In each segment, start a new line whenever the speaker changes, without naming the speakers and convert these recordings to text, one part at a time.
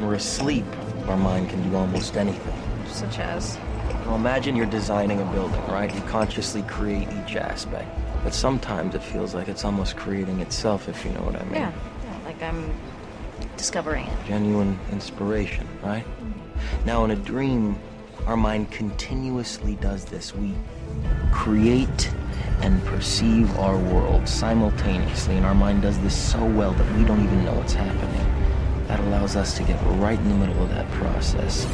we're asleep, our mind can do almost anything.
Such as?
Now imagine you're designing a building, right? You consciously create each aspect. But sometimes it feels like it's almost creating itself, if you know what I mean.
Yeah. yeah like I'm discovering it.
Genuine inspiration, right? Now, in a dream, our mind continuously does this. We create and perceive our world simultaneously, and our mind does this so well that we don't even know what's happening. That allows us to get right in the middle of that process.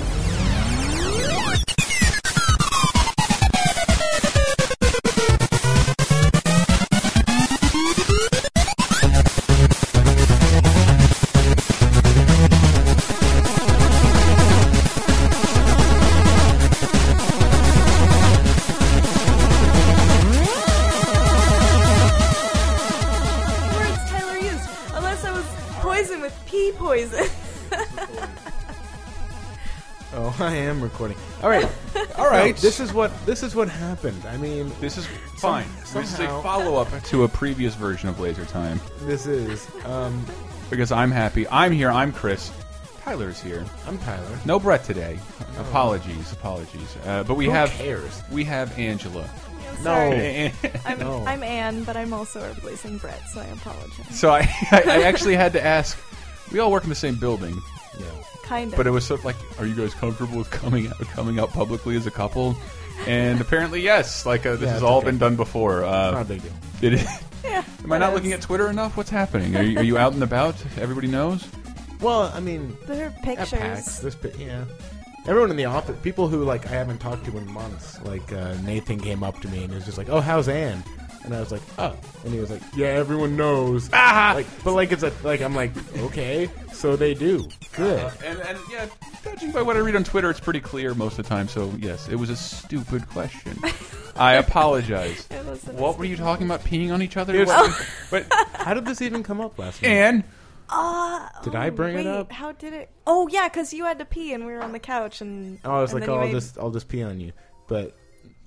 words Tyler used, unless I was poisoned with pea poison.
Oh, I am recording. All right,
All right.
this is what this is what happened. I mean,
This is fine. this is a
somehow-
follow up to a previous version of Laser Time
this is. Um,
because I'm happy. I'm here. I'm Chris. Tyler's here.
I'm Tyler.
No Brett today. Apologies, apologies. Uh, but we
Oh. Who
have
cares? Oh.
we have Angela.
No,
Eh, eh.
I'm,
No.
I'm Anne, but I'm also replacing Brett, so I apologize.
so I, I I actually had to ask. We all work in the same building,
Kind of.
but it was sort of like, are you guys comfortable with coming out, coming out publicly as a couple? And apparently, yes. Like uh, this
Yeah,
has
it's
all
okay.
been done before. Uh,
not a big deal.
Did it?
yeah,
Am I not looking at Twitter enough? What's happening? Are you, are you out and about? Everybody knows.
Well, I mean,
their
at PAX,
pictures?
this pi- yeah. Everyone in the office, people who like I haven't talked to in months, like uh, Nathan came up to me and was just like, "Oh, how's Anne?" And I was like, "Oh," and he was like, "Yeah, everyone knows." Ah! Like, but like it's a like I'm like, okay, so they do. Good.
And, and yeah, judging by what I read on Twitter, it's pretty clear most of the time. So yes, it was a stupid question. I apologize.
It was a
What were you talking about? Peeing on each other?
It was-
What- but
Uh-huh.
How did this even come up last night?
and
Uh,
Did
oh,
I bring it
wait,
up?
How did it? Oh yeah, because you had to pee and we were on the couch and.
Um,
Oh, I was
and
like,
then
oh,
you
I'll
made-
just I'll just pee on you, but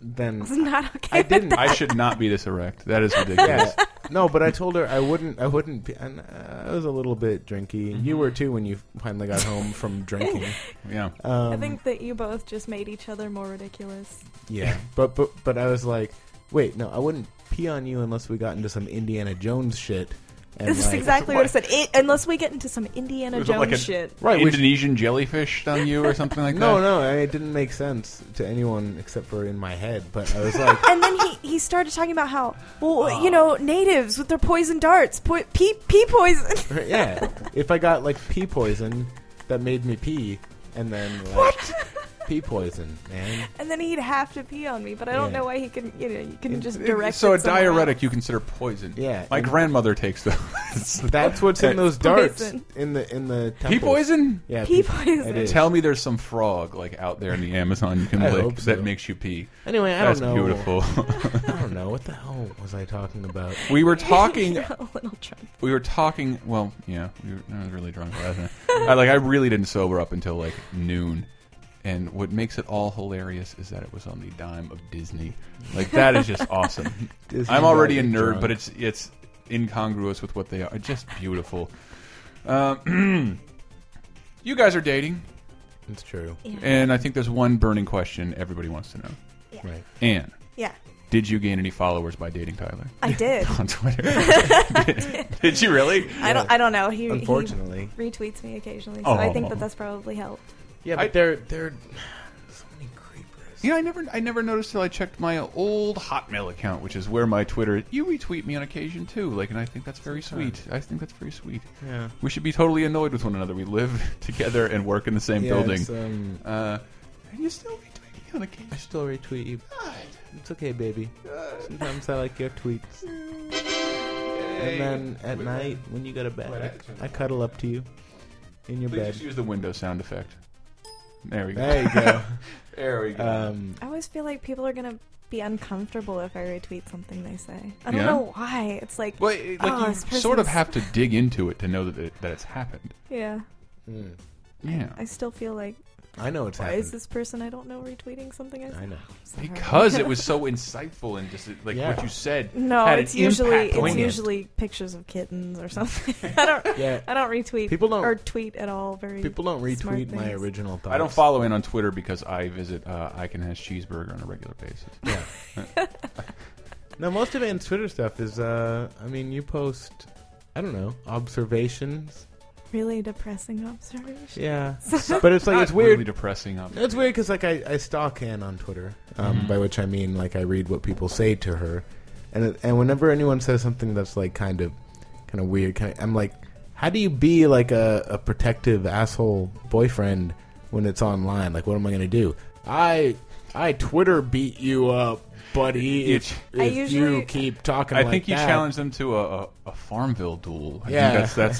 then
It's not okay.
I
with
didn't.
I should not be this erect. That is
yeah.
ridiculous.
No, but I told her I wouldn't. I wouldn't. Be, and uh, I was a little bit drinky.
Mm-hmm.
You were too when you finally got home from drinking. Um,
Yeah.
I think that you both just made each other more ridiculous.
Yeah, but but but I was like, wait, no, I wouldn't pee on you unless we got into some Indiana Jones shit. And
This is
like-
exactly what I said. It, unless we get into some Indiana
Was it
Jones
like a-
shit.
Right, we-
Indonesian jellyfish on you or something like
No,
that.
no, I mean, it didn't make sense to anyone except for in my head. But I was like,
And then he, he started talking about how, well, you
Oh.
know, natives with their poison darts, po- pee, pee poison.
yeah, if I got like pee poison that made me pee, and then like,
What?
pee poison, man?
and then he'd have to pee on me, but I don't
Yeah.
know why he couldn't. You know, you couldn't
It-
just
It-
direct.
so
it
a
somewhere
diuretic
else.
you consider poison.
Yeah,
My
and-
grandmother takes those.
That's what's in those darts
Poison.
in the in the temples.
Pea poison?
Yeah,
Pea
pee-
poison.
It is.
Tell me there's some frog like out there in the Amazon you can
I
lick
hope so.
that makes you pee.
Anyway, I
That's
don't know.
beautiful.
I don't know what the hell was I talking about.
we were talking
a little drunk.
we were talking. Well, yeah, we were, I was really drunk last night. I, like I really didn't sober up until like noon. And what makes it all hilarious is that it was on the dime of Disney. Like that is just awesome.
Disney
I'm already a
got you
nerd,
drunk.
but it's it's incongruous with what they are. Just beautiful. Um, you guys are dating,
It's true,
and I think there's one burning question everybody wants to know.
right?
Anne,
Yeah,
did you gain any followers by dating Tyler
I did.
on Twitter? did you really?
I don't. I don't know. He he
Unfortunately.
retweets me occasionally, so
Oh.
I think that that's probably helped.
Yeah,
I-
but they're they're so many creepers.
You know, I never, I never noticed till I checked my old Hotmail account, which is where my Twitter. You retweet me on occasion too, like, and I think that's very sweet. I think that's very sweet.
Yeah.
We should be totally annoyed with one another. We live together and work in the same building.
it's, um,
Uh, and you still retweet me on occasion.
I still retweet you. It's okay, baby. Sometimes I like your tweets. And then at night when you go to bed, I cuddle up to you in your
Please
bed.
just use the window sound effect. There we go.
There you go.
There we go.
Um,
I always feel like people are gonna be uncomfortable if I retweet something they say. I don't
Yeah?
know why. It's like,
well, it- like
oh,
you
this
sort of
person's-
have to dig into it to know that it, that it's happened.
yeah.
mm.
Yeah.
I still feel like
I know it's
Why is
happening.
this person I don't know retweeting something I
I
said?
know.
because it was so insightful and just like
Yeah.
what you said.
No,
had
it's
an
usually
impact
it's
on me.
usually pictures of kittens or something. I don't
Yeah.
I don't retweet
People don't-
or tweet at all. Very
People don't
smart
retweet my
things.
original thoughts.
I don't follow in on Twitter because I visit uh, Icon Has Cheeseburger on a regular basis.
Yeah. no, most of Anne's Twitter stuff is. uh I mean, you post. I don't know observations.
Really depressing observation.
Yeah, but it's like
Not
it's weird.
Really depressing. Up.
It's weird because like I, I stalk Anne on Twitter, um, by which I mean like I read what people say to her, and it- and whenever anyone says something that's like kind of kind of weird, kind of, I'm like, how do you be like a, a protective asshole boyfriend when it's online? Like, what am I gonna do? I I Twitter beat you up, buddy. If,
I
if
usually-
you keep talking,
I
like
think you
that.
challenged them to a, a, a Farmville duel. I
Yeah.
think that's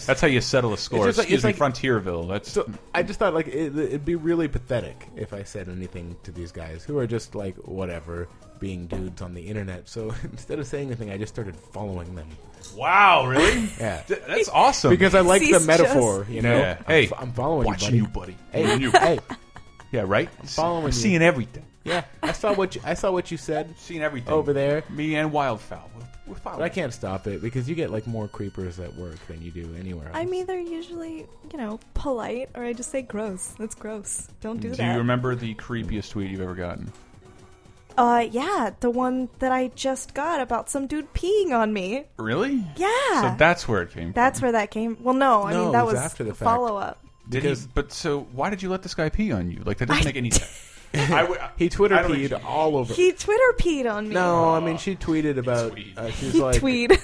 the, that's how you settle a score.
It's just like-
Excuse
it's
me,
like-
Frontierville. That's
So I just thought like it, it'd be really pathetic if I said anything to these guys who are just like whatever being dudes on the internet. So instead of saying anything, I just started following them.
wow, really?
Yeah,
Th- that's awesome.
because I like the
Cease
metaphor.
just-
You know,
Yeah.
I'm,
Hey,
f- I'm following
watching
you,
you,
buddy.
buddy.
Hey,
You-
hey,
yeah, right. I'm
following you.
seeing everything.
yeah. I saw what you, I saw what you said,
Seeing everything
Over there.
Me and Wildfowl. We're, we're following.
but I can't stop it because you get like more creepers at work than you do anywhere. Else.
I'm either usually you know polite or I just say gross. That's gross. Don't do,
Do
that.
you remember the creepiest tweet you've ever gotten?
Uh, yeah, the one that I just got about some dude peeing on me.
Really?
Yeah.
So that's where it came.
That's where that came. Well, no, I
No,
mean
it
that
was
was,
after the fact.
follow up.
from. Did he,
because-
but so why did you let this guy pee on you? Like that doesn't
I
make any sense. I w-
he Twitter
I don't think
peed all over.
He Twitter peed on me.
no, I mean she tweeted about.
Tweet.
Uh, she's
he
like,
tweed.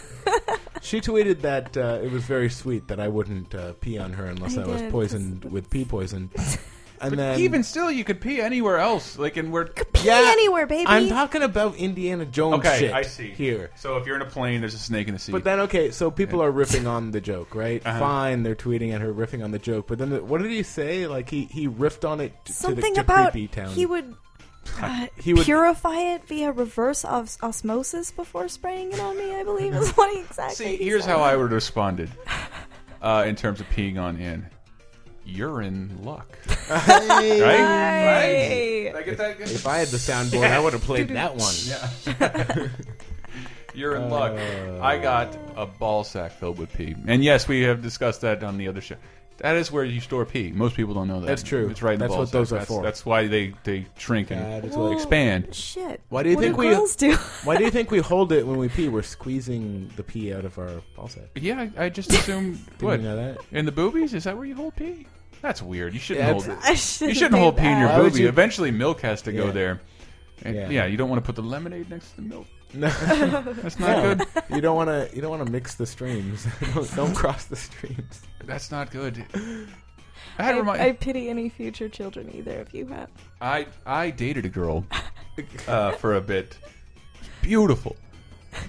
She tweeted that uh, it was very sweet that I wouldn't uh, pee on her unless I,
I
was
did,
poisoned with pee poison. And then
Even still, you could pee anywhere else. Like, and we're
pee anywhere, baby.
I'm talking about Indiana Jones
okay.
shit.
I see.
here.
So if you're in a plane, there's a snake in the sea.
But then okay, so people are riffing on the joke, right?
Uh-huh.
Fine, they're tweeting at her riffing on the joke, but then the, what did he say? Like he he riffed on it t-
Something
to the to
about
creepy town.
he would uh,
He would-
purify it via reverse os- osmosis before spraying it on me. I believe is what he exactly.
see,
he
here's
said.
how I would have responded uh, in terms of peeing on in. You're in luck, right? Right? I get that.
if I had the soundboard, I would have played that one.
You're in luck. I got a ball sack filled with pee. And yes, we have discussed that on the other show. That is where you store pee. Most people don't know that.
That's true.
It's right in the
That's
ball
what
sack.
those are
that's,
for.
That's why they, they shrink
That
and
is what-
expand.
Shit.
Why do you
What
think
do
we-
girls do?
Why do you think we hold it when we pee? We're squeezing the pee out of our ball sack.
Yeah, I, I just assumed.
Didn't
what?
you know that?
In the boobies? Is that where you hold pee? That's weird. You shouldn't
Yeah,
hold
it's-
it.
I
You
shouldn't
shouldn't hold
do
pee in your
that.
Why would
boobie.
you-
Eventually, milk has to go
Yeah.
there. And yeah.
Yeah.
you don't want to put the lemonade next to the milk.
No.
That's not
No.
good.
You don't want to. You don't want to mix the streams. don't, don't cross the streams.
That's not good. I had
I,
remind-
I pity any future children either if you have.
I I dated a girl uh, for a bit. Beautiful,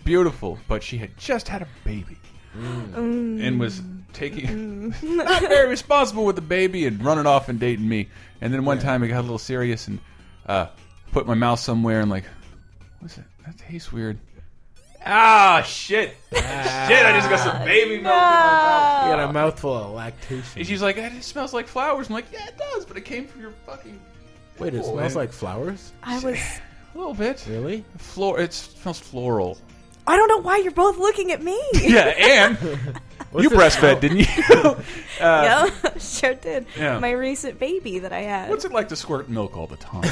beautiful, but she had just had a baby and was taking not very responsible with the baby and running off and dating me. And then one time it got a little serious and uh, put my mouth somewhere and like, what's it? That tastes weird. Ah shit! shit! I just got some baby milk. in my mouth.
You got a mouthful of lactation.
And she's like, "It smells like flowers." I'm like, "Yeah, it does, but it came from your fucking."
Wait, it
Oh,
smells
man.
like flowers.
I was.
A little bit.
Really?
Flor. It smells floral.
I don't know why you're both looking at me.
Yeah, and you
the-
breastfed, didn't you?
yeah, sure did.
Yeah.
My recent baby that I had.
What's it like to squirt milk all the time?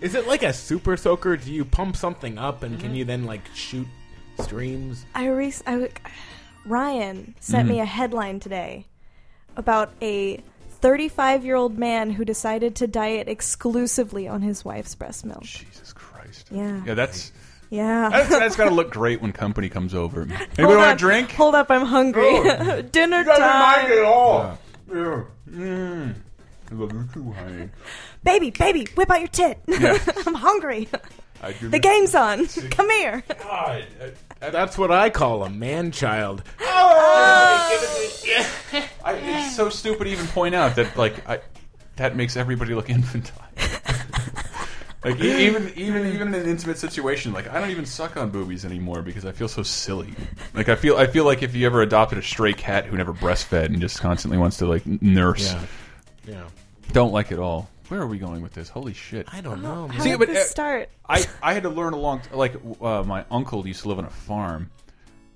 Is it like a super soaker? Do you pump something up and can you then like shoot streams?
I re- I w- Ryan sent me a headline today about a 35 year old man who decided to diet exclusively on his wife's breast milk.
Jesus Christ.
Yeah.
Yeah, that's
Yeah.
that's, that's got to look great when company comes over. Anybody
Hold
want
up.
a drink? Oh.
Hold up, I'm hungry. Dinner time.
all. Yeah. Mm. I love you too, honey.
Baby, baby, whip out your tit.
Yeah.
I'm hungry.
I do
The game's on. Come here.
God. I, I,
That's what I call a man child.
I- it's so stupid to even point out that like I, that makes everybody look infantile. Like e- even even even in an intimate situation, like I don't even suck on boobies anymore because I feel so silly. Like I feel I feel like if you ever adopted a stray cat who never breastfed and just constantly wants to like n- nurse,
Yeah. Yeah.
don't like it all. Where are we going with this? Holy shit!
I don't know.
How
Man.
See,
did
but,
this
uh,
start?
I I had to learn a long like uh, my uncle used to live on a farm.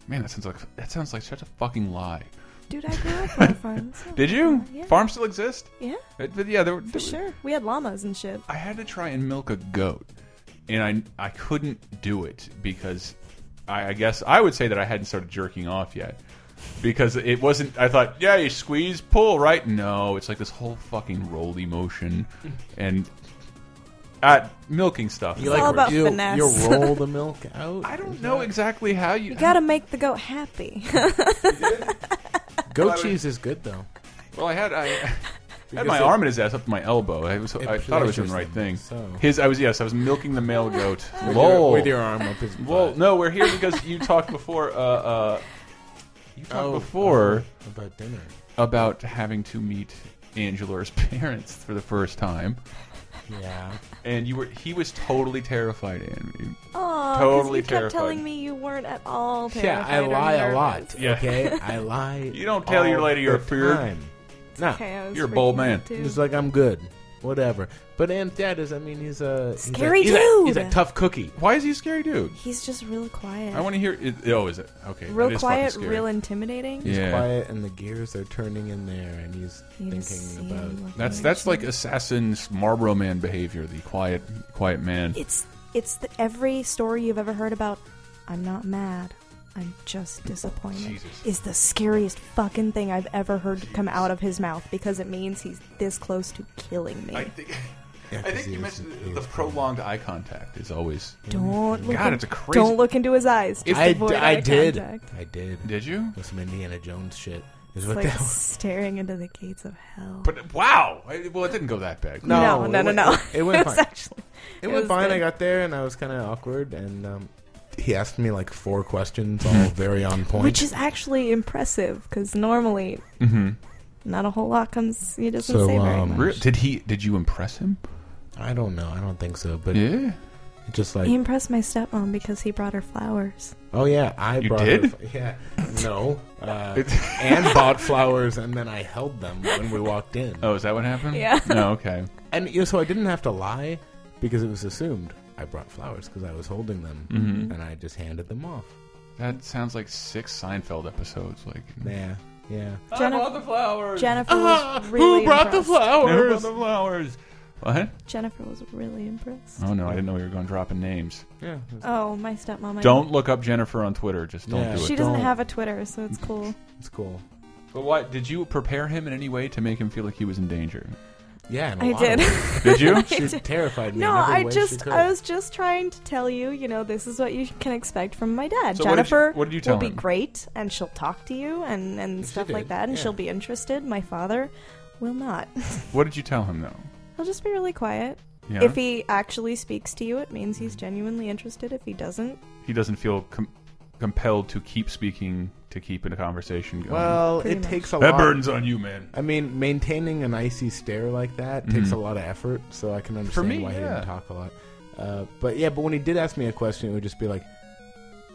Man, that sounds like that sounds like such a fucking lie.
Dude, I grew up on a farm. so-
Did you?
Mm, Yeah.
Farms still exist?
Yeah,
Uh, but yeah, there were.
for sure. We had llamas and shit.
I had to try and milk a goat, and I I couldn't do it because I, I guess I would say that I hadn't started jerking off yet because it wasn't. I thought, yeah, you squeeze, pull, right? No, it's like this whole fucking rolly motion, and at milking stuff.
It's like- all about
you,
finesse.
you roll the milk out.
I don't know exactly how you.
You gotta make the goat happy.
Goat cheese is good though.
well, I had I. I had
Because
my
it-
arm in his ass up to my elbow. I, was,
It
I thought I was doing
pleasures
the right
him,
thing.
so.
His, I was yes, I was milking the male goat.
With
Lol.
your, with your arm up his butt.
Well, no, we're here because you talked before. Uh, uh, you talked
Oh,
before
oh, about dinner.
about having to meet Angela's parents for the first time,
Yeah.
and you were he was totally terrified. And
Oh,
Totally
you
terrified.
kept telling me you weren't at all
Yeah,
terrified.
I
or
lie a
nervous.
lot.
Yeah.
Okay, I lie.
You don't tell your
all
lady you're
the
feared.
time. No,
Okay, I was
You're a bold
freaking
man.
out, too.
he's like I'm good, whatever. But Aunt Dad is. I mean, he's a he's a-
Scary
he's a, He's a
dude.
tough cookie.
why is he a scary dude?
He's just real quiet.
I want to hear. It, oh, is it okay? that
real
is fucking
quiet,
scary.
real intimidating.
Yeah.
Quiet, and the gears are turning in there, and he's
You just see
thinking
him
about.
looking
That's
at
that's
you.
like assassin's Marlboro man behavior. The quiet quiet man.
It's it's the, every story you've ever heard about. I'm not mad. I'm just disappointed.
Jesus.
Is the scariest fucking thing I've ever heard come out of his mouth because it means he's this close to killing me.
I think.
Yeah,
I
'cause
think
he
you
was-
mentioned
he
the
was-
prolonged eye contact is always.
don't look.
God,
in-
it's a crazy.
don't look into his eyes. Just
I,
avoid
I
eye
did.
contact.
I did.
Did you?
With some Indiana Jones shit. Is
It's
what
like
that was.
staring into the gates of hell.
But wow. I- Well, it didn't go that bad.
no,
it
no, no,
went-
no.
It went
was
fine.
actually-
It went
was
fine.
good.
I got there and I was kind of awkward, and um, he asked me like four questions, all very on point.
which is actually impressive because normally
Mm-hmm.
not a whole lot comes. He doesn't
So,
say very
um,
much.
Real, did he? Did you impress him?
I don't know. I don't think so, but
Yeah.
just like
He impressed my stepmom because he brought her flowers.
oh yeah, I
You
brought
did?
her- yeah, no, uh, and bought flowers, and then I held them when we walked in,
Oh, is that what happened?
Yeah.
No. Okay.
and you know, so I didn't have to lie because it was assumed I brought flowers because I was holding them,
Mhm.
and I just handed them off.
That sounds like six Seinfeld episodes. Like.
Yeah, yeah.
I
Jennifer-
brought the flowers.
Jennifer
Ah,
was really
who brought
impressed.
the flowers?
Who brought the flowers? What?
Jennifer was really impressed.
Oh no, I didn't know we were going dropping names.
Yeah. it was-
Oh, my stepmom. I-
Don't look up Jennifer on Twitter. Just don't
Yeah.
do it.
She doesn't
Don't.
have a Twitter, so it's cool.
It's cool.
But what? Did you prepare him in any way to make him feel like he was in danger?
Yeah, and a
I
lot
did.
of-
Did you?
I
She
did.
terrified me.
No,
in every
I
way
just
she
I
could.
was just trying to tell you, you know, this is what you can expect from my dad.
So what did you-
Jennifer
what did you tell
will be
him?
great and she'll talk to you and and
She
stuff like
did,
that and
yeah.
she'll be interested. My father will not.
What did you tell him though?
He'll just be really quiet.
Yeah. Mm.
If he actually speaks to you, it means he's genuinely interested. If he doesn't,
He doesn't feel com- compelled to keep speaking to keep in a conversation going.
Well,
Pretty
it
much.
takes a
that
lot.
burden's on you, man.
I mean, maintaining an icy stare like that takes
Mhm.
a lot of effort, so I can understand
me,
why he
yeah.
didn't talk a lot. Uh, but yeah, but when he did ask me a question, it would just be like,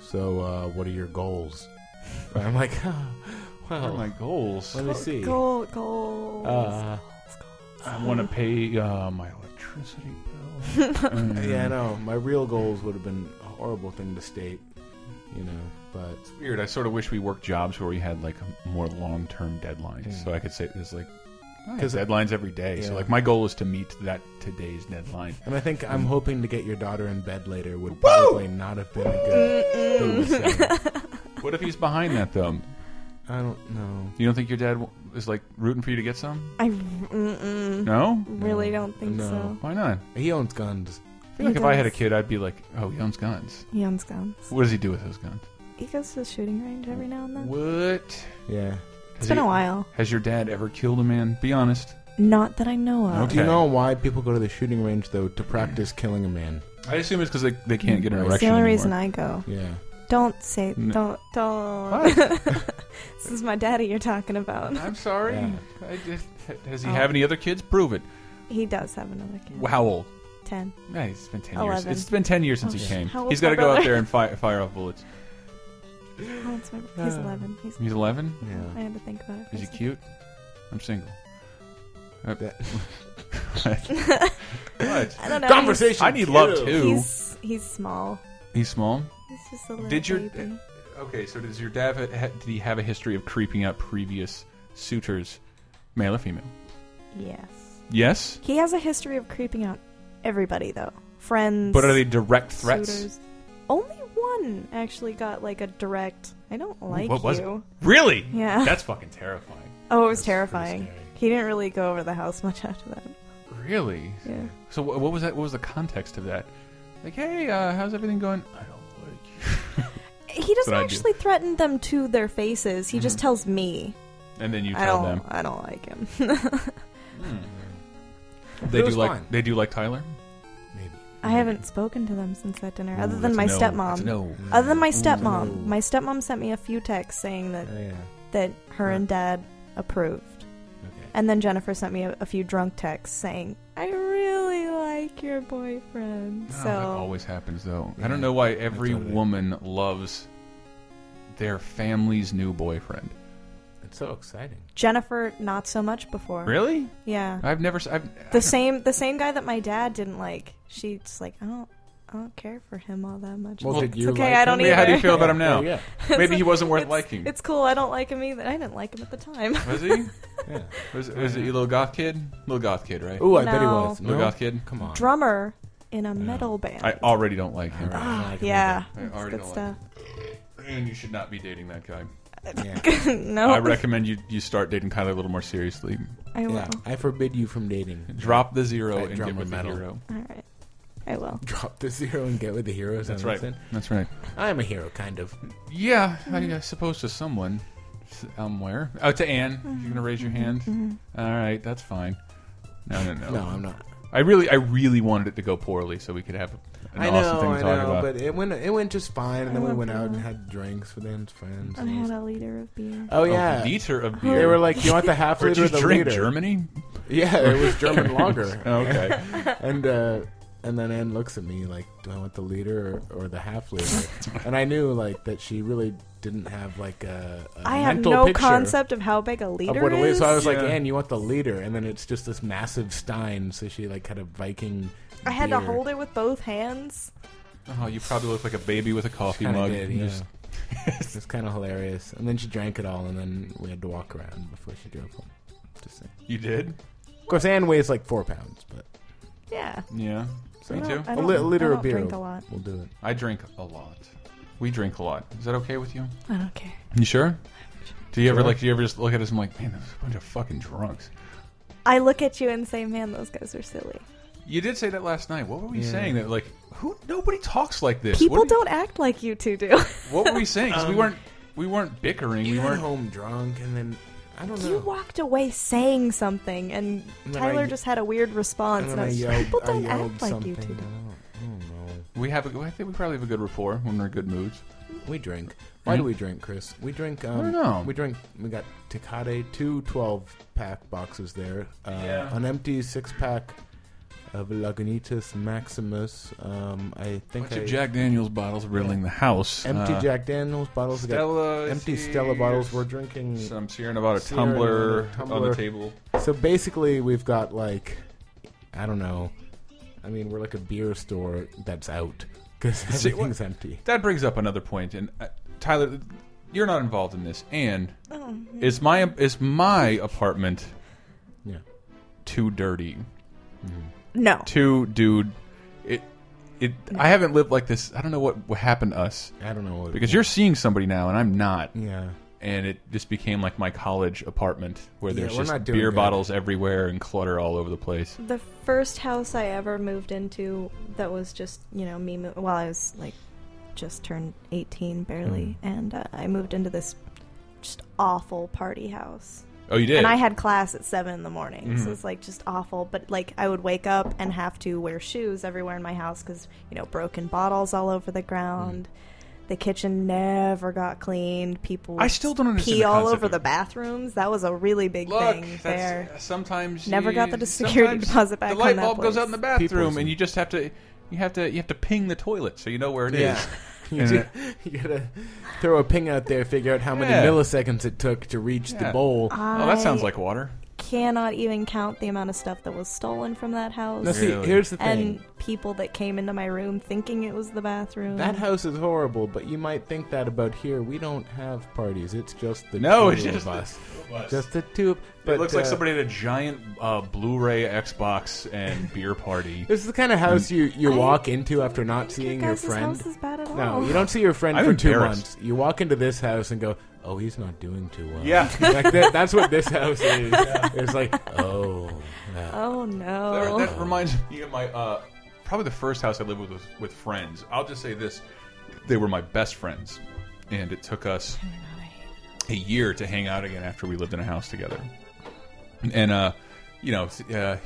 "So, uh, what are your goals?" And I'm like, oh,
What are
"Well,
my goals?
let me see.
goal, goal.
Uh,
Ah, I want to pay uh, my electricity bill. Mm.
yeah, no, my real goals would have been a horrible thing to state, you know. But
It's weird. I sort of wish we worked jobs where we had like more long-term deadlines,
Mm.
so I could say there's like I have
'Cause-
deadlines every day. So
Yeah.
like my goal is to meet that today's deadline.
and I think I'm hoping to get your daughter in bed later would
Woo!
probably not have been a good thing to say.
What if he's behind that though?
I don't know.
You don't think your dad w- is like rooting for you to get some?
I mm-mm,
No.
really don't think
No.
so.
Why not?
He owns guns.
I feel like if I had a kid, I'd be like, oh, he owns guns.
He owns guns.
What does he do with those guns?
He goes to the shooting range every now and then.
What?
Yeah.
It's been a while.
Has your dad ever killed a man? Be honest.
Not that I know of.
Okay.
Do you know why people go to the shooting range though to practice killing a man?
I assume it's because they, they can't get an
It's
erection
the only
anymore.
reason I go.
Yeah.
Don't say.
N-
Don't. Don't. this is my daddy you're talking about.
I'm sorry.
Yeah.
I just, does he
Oh.
have any other kids? Prove it.
He does have another kid.
How old?
Ten.
Yeah, it's been ten
Eleven.
years. It's been ten years since
Oh,
he
shit.
came.
How old's
He's got to
my
go out
brother?
there and fire, fire off bullets.
How old's Oh, my? He's
Uh,
eleven. He's.
He's eleven.
I had to think about it. for
Is he
a second.
cute? I'm single. Uh,
That-
what?
I don't know.
Conversation.
I need love
too.
too.
He's, he's he's small.
He's small.
He's just a little
Did your-
baby.
Okay, so does your dad ha- ha- did he have a history of creeping out previous suitors, male or female?
Yes.
Yes,
He has a history of creeping out everybody though. Friends.
but are they direct threats?
suitors. Only one actually got like a direct. I don't like
what was it?
you.
Really?
Yeah.
That's fucking terrifying.
Oh, it was
That's pretty
terrifying.
scary.
He didn't really go over the house much after that.
Really?
Yeah.
So wh- what was that? What was the context of that? Like, hey, uh, how's everything going? I don't like you.
He doesn't
I do.
actually threaten them to their faces. He just
Mhm.
tells me.
And then you
I
tell
don't.
them Mm-hmm.
I don't like him.
they
It
do
was
like
fine.
they do like Tyler.
Maybe.
I haven't spoken to them since that dinner, other
Ooh,
than my
that's a no. That's
stepmom.
a No.
Other than my
Ooh.
stepmom. My stepmom sent me a few texts saying that
Oh, yeah.
that her
Yeah.
and dad approved.
Okay.
And then Jennifer sent me a, a few drunk texts saying, "I really like your boyfriend."
No, that
so
always happens though. I
Yeah,
don't know why every
that's what it is.
woman loves their family's new boyfriend.
It's so exciting.
Jennifer, not so much before.
Really?
Yeah.
I've never. s- I've, I
the
don't-
same the same guy that my dad didn't like. She's like, I don't I don't care for him all that much.
Well,
It's
did
like,
you
okay,
like
I don't
him?
either.
Yeah, how do you feel about him
Yeah,
now?
Yeah.
Maybe he
like,
wasn't worth
it's-
liking.
It's cool. I don't like him either. I didn't like him at the time.
Was he?
yeah.
Was, was he a little goth kid? Little goth kid, right?
Ooh, I bet he
No.
was.
Little goth kid.
Come on.
Drummer in a metal band.
I already don't like him.
Alright.
Ah,
I can
yeah,
I
that's
already
good
don't
stuff.
like And you should not be dating that guy.
Yeah.
no,
I recommend you you start dating Tyler a little more seriously.
I will.
Yeah. I forbid you from dating.
Drop the zero
I
and
drum
get
a
with
metal.
the hero.
All right, I will.
Drop the zero and get with the heroes.
That's
on
right.
this end.
That's right. Mm-hmm.
I'm a hero, kind of.
Yeah, I, I suppose to someone somewhere. Oh, to Anne. You're gonna raise your hand. All right, that's fine. No, no, no.
No, I'm not.
I really, I really wanted it to go poorly so we could have an
I
awesome
know,
thing to
I
talk
know,
about.
but it went it went just fine, and then
I
we
love
went out
that.
and had drinks with Anne's friends.
I had a liter of beer.
oh
Oh,
yeah,
a liter of beer.
they were like, "You want the half
Or
liter,
did
or the
you drink Oh.
liter?"
Germany?
Yeah, it was German lager.
Okay.
and uh, and then Anne looks at me like, "Do I want the liter or, or the half liter?" and I knew like that she really didn't have like a, a
I have
mental
no
picture
concept of how big a liter
Of what a liter.
is.
So I was
Yeah.
like, "Anne, you want the liter?" And then it's just this massive stein. So she like had a Viking.
I had to
beer.
hold it with both hands.
Oh, you probably look like a baby with a coffee
Kinda
mug.
did,
You
yeah.
just-
It was kind of hilarious. And then she drank it all, and then we had to walk around before she drove home. Just saying.
you did?
Of course, Anne weighs like four pounds, but
Yeah,
Yeah.
I
Me
don't-
too.
I
A
don't,
li-
I
liter of
don't
beer.
Drink a lot.
we'll do it.
I drink a lot. We drink a lot. Is that okay with you?
I don't care.
You sure? Do you ever
Sure.
like? Do you ever just look at us and like, man, there's a bunch of fucking drunks.
I look at you and say, "Man, those guys are silly."
You did say that last night. What were we
Yeah.
saying? That like, who? Nobody talks like this.
People
what,
don't act like you two do.
What were we saying? 'Cause we
Um,
weren't. We weren't bickering. We
We went
weren't.
home drunk, and then I don't know.
you walked away saying something, and
And then
Tyler
I-
just had a weird response. And
and
I
then I
was just
yelled,
like, people don't
I yelled
act like
something.
you two do.
I don't, I don't know.
We have. A, I think we probably have a good rapport when we're in good moods.
We drink. Why do we drink, Chris? We drink. Um,
Hmm? I don't know.
We drink. We got Tecate, two 12 pack boxes there. Uh,
Yeah.
An empty six pack of Lagunitas Maximus. Um, I think
Bunch of
I-
Jack Daniels bottles riddling the house.
empty
Uh,
Jack Daniels bottles. we got
Stella.
empty
see,
Stella bottles. We're
there's
drinking.
Some Sierra Nevada
Sierra
tumbler,
Nevada
on the
tumbler.
table.
So basically, we've got like, I don't know. I mean, we're like a beer store that's out because
See, what-
everything's empty.
That brings up another point, and uh, Tyler, you're not involved in this. And
Oh,
is my is my apartment
Yeah.
too dirty?
no.
Too, dude. It, it. I haven't lived like this. I don't know what, what happened to us
I don't know what
because you're seeing somebody now, and I'm not.
Yeah.
And it just became like my college apartment where
Yeah,
there's
we're
just
not doing
beer
good.
bottles everywhere and clutter all over the place.
The first house I ever moved into that was just, you know, me, mo- well, I was like just turned 18 barely,
Mm.
and uh, I moved into this just awful party house.
Oh, you did.
And I had class at 7 in the morning,
Mm-hmm.
so it's like just awful. But like, I would wake up and have to wear shoes everywhere in my house because, you know, broken bottles all over the ground. The kitchen never got cleaned. People
Mm-hmm. I still don't understand
pee
the
all
concept
over
of-
the bathrooms. That was a really big thing there.
sometimes
Never
you-
got the security
sometimes
deposit back
The light
on that
bulb goes out
place.
in the
People
bathroom,
is-
and you just have to, you have to, you have to ping the toilet so you know where it is.
Yeah. You,
And
do-
it-
you gotta throw a ping out there, figure out how many
Yeah.
milliseconds it took to reach the
Yeah.
bowl.
Oh, that sounds like water.
Cannot even count the amount of stuff that was stolen from that house.
Now, see,
Really?
here's the thing.
and people that came into my room thinking it was the bathroom.
that house is horrible, but you might think that about here. We don't have parties. It's just the
No,
two
it's just
of us.
us.
Just the two. of- But,
it looks like
uh,
somebody had a giant uh, Blu-ray, Xbox, and beer party.
This is the kind of house you, you
I
walk into after
I
not
don't think
seeing
your
your
guys'
friend.
house is bad at all.
No, you don't see your friend
I'm
for two months.
embarrassed.
You walk into this house and go, "Oh, he's not doing too well."
Yeah.
like that, that's what this house is. It's like, oh, yeah.
Oh
That,
no.
that reminds me of my uh, probably the first house I lived with was with friends. I'll just say this: they were my best friends, and it took us a year to hang out again after we lived in a house together. And uh, you know, uh,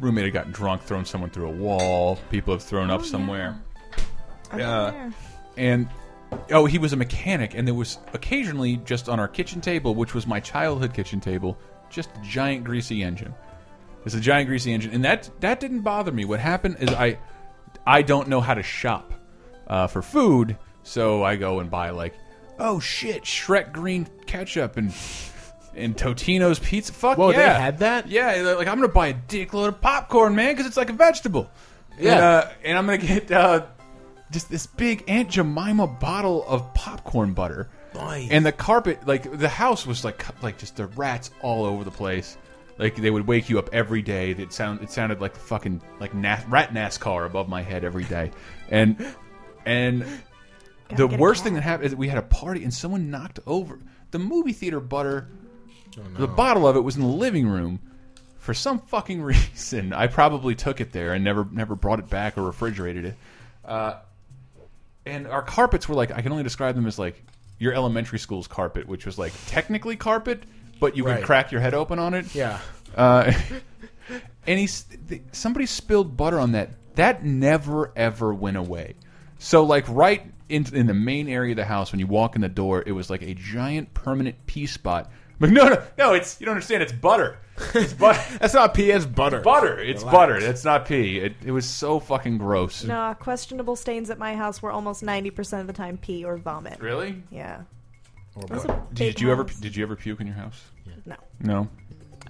roommate had gotten drunk, thrown someone through a wall. People have thrown up somewhere,
I'm
uh,
there.
and. Oh, he was a mechanic, and there was occasionally just on our kitchen table, which was my childhood kitchen table, just a giant greasy engine. It's a giant greasy engine, and that that didn't bother me. What happened is I I don't know how to shop uh, for food, so I go and buy like oh shit, Shrek green ketchup and and Totino's pizza. Fuck
Whoa, they
yeah,
had that?
Yeah, they're like I'm gonna buy a dickload of popcorn, man, because it's like a vegetable.
Yeah.
and, uh, and I'm gonna get uh, just this big Aunt Jemima bottle of popcorn butter.
Nice.
And the carpet, like the house, was like cu- like just the rats all over the place. Like they would wake you up every day. It sound it sounded like fucking like nas- rat NASCAR above my head every day, and and the
get a
worst
cat.
thing that happened is we had a party and someone knocked over the movie theater butter. The bottle of it was in the living room. For some fucking reason, I probably took it there and never never brought it back or refrigerated it. Uh, and our carpets were like I can only describe them as like your elementary school's carpet, which was like technically carpet, but you
Right.
could crack your head open on it.
yeah.
Uh, and he, s- th- somebody spilled butter on that. That never ever went away. So like right in in the main area of the house, when you walk in the door, it was like a giant permanent pea spot. But no, no, no! It's you don't understand. It's butter. It's butter.
That's not PS butter.
butter. It's
Relax.
butter. That's not pea. It, it was so fucking gross.
Nah, questionable stains at my house were almost ninety percent of the time pee or vomit.
Really?
Yeah.
Or
That's
butter.
a big
Did you ever
house.
did you ever puke in your house?
No,
No.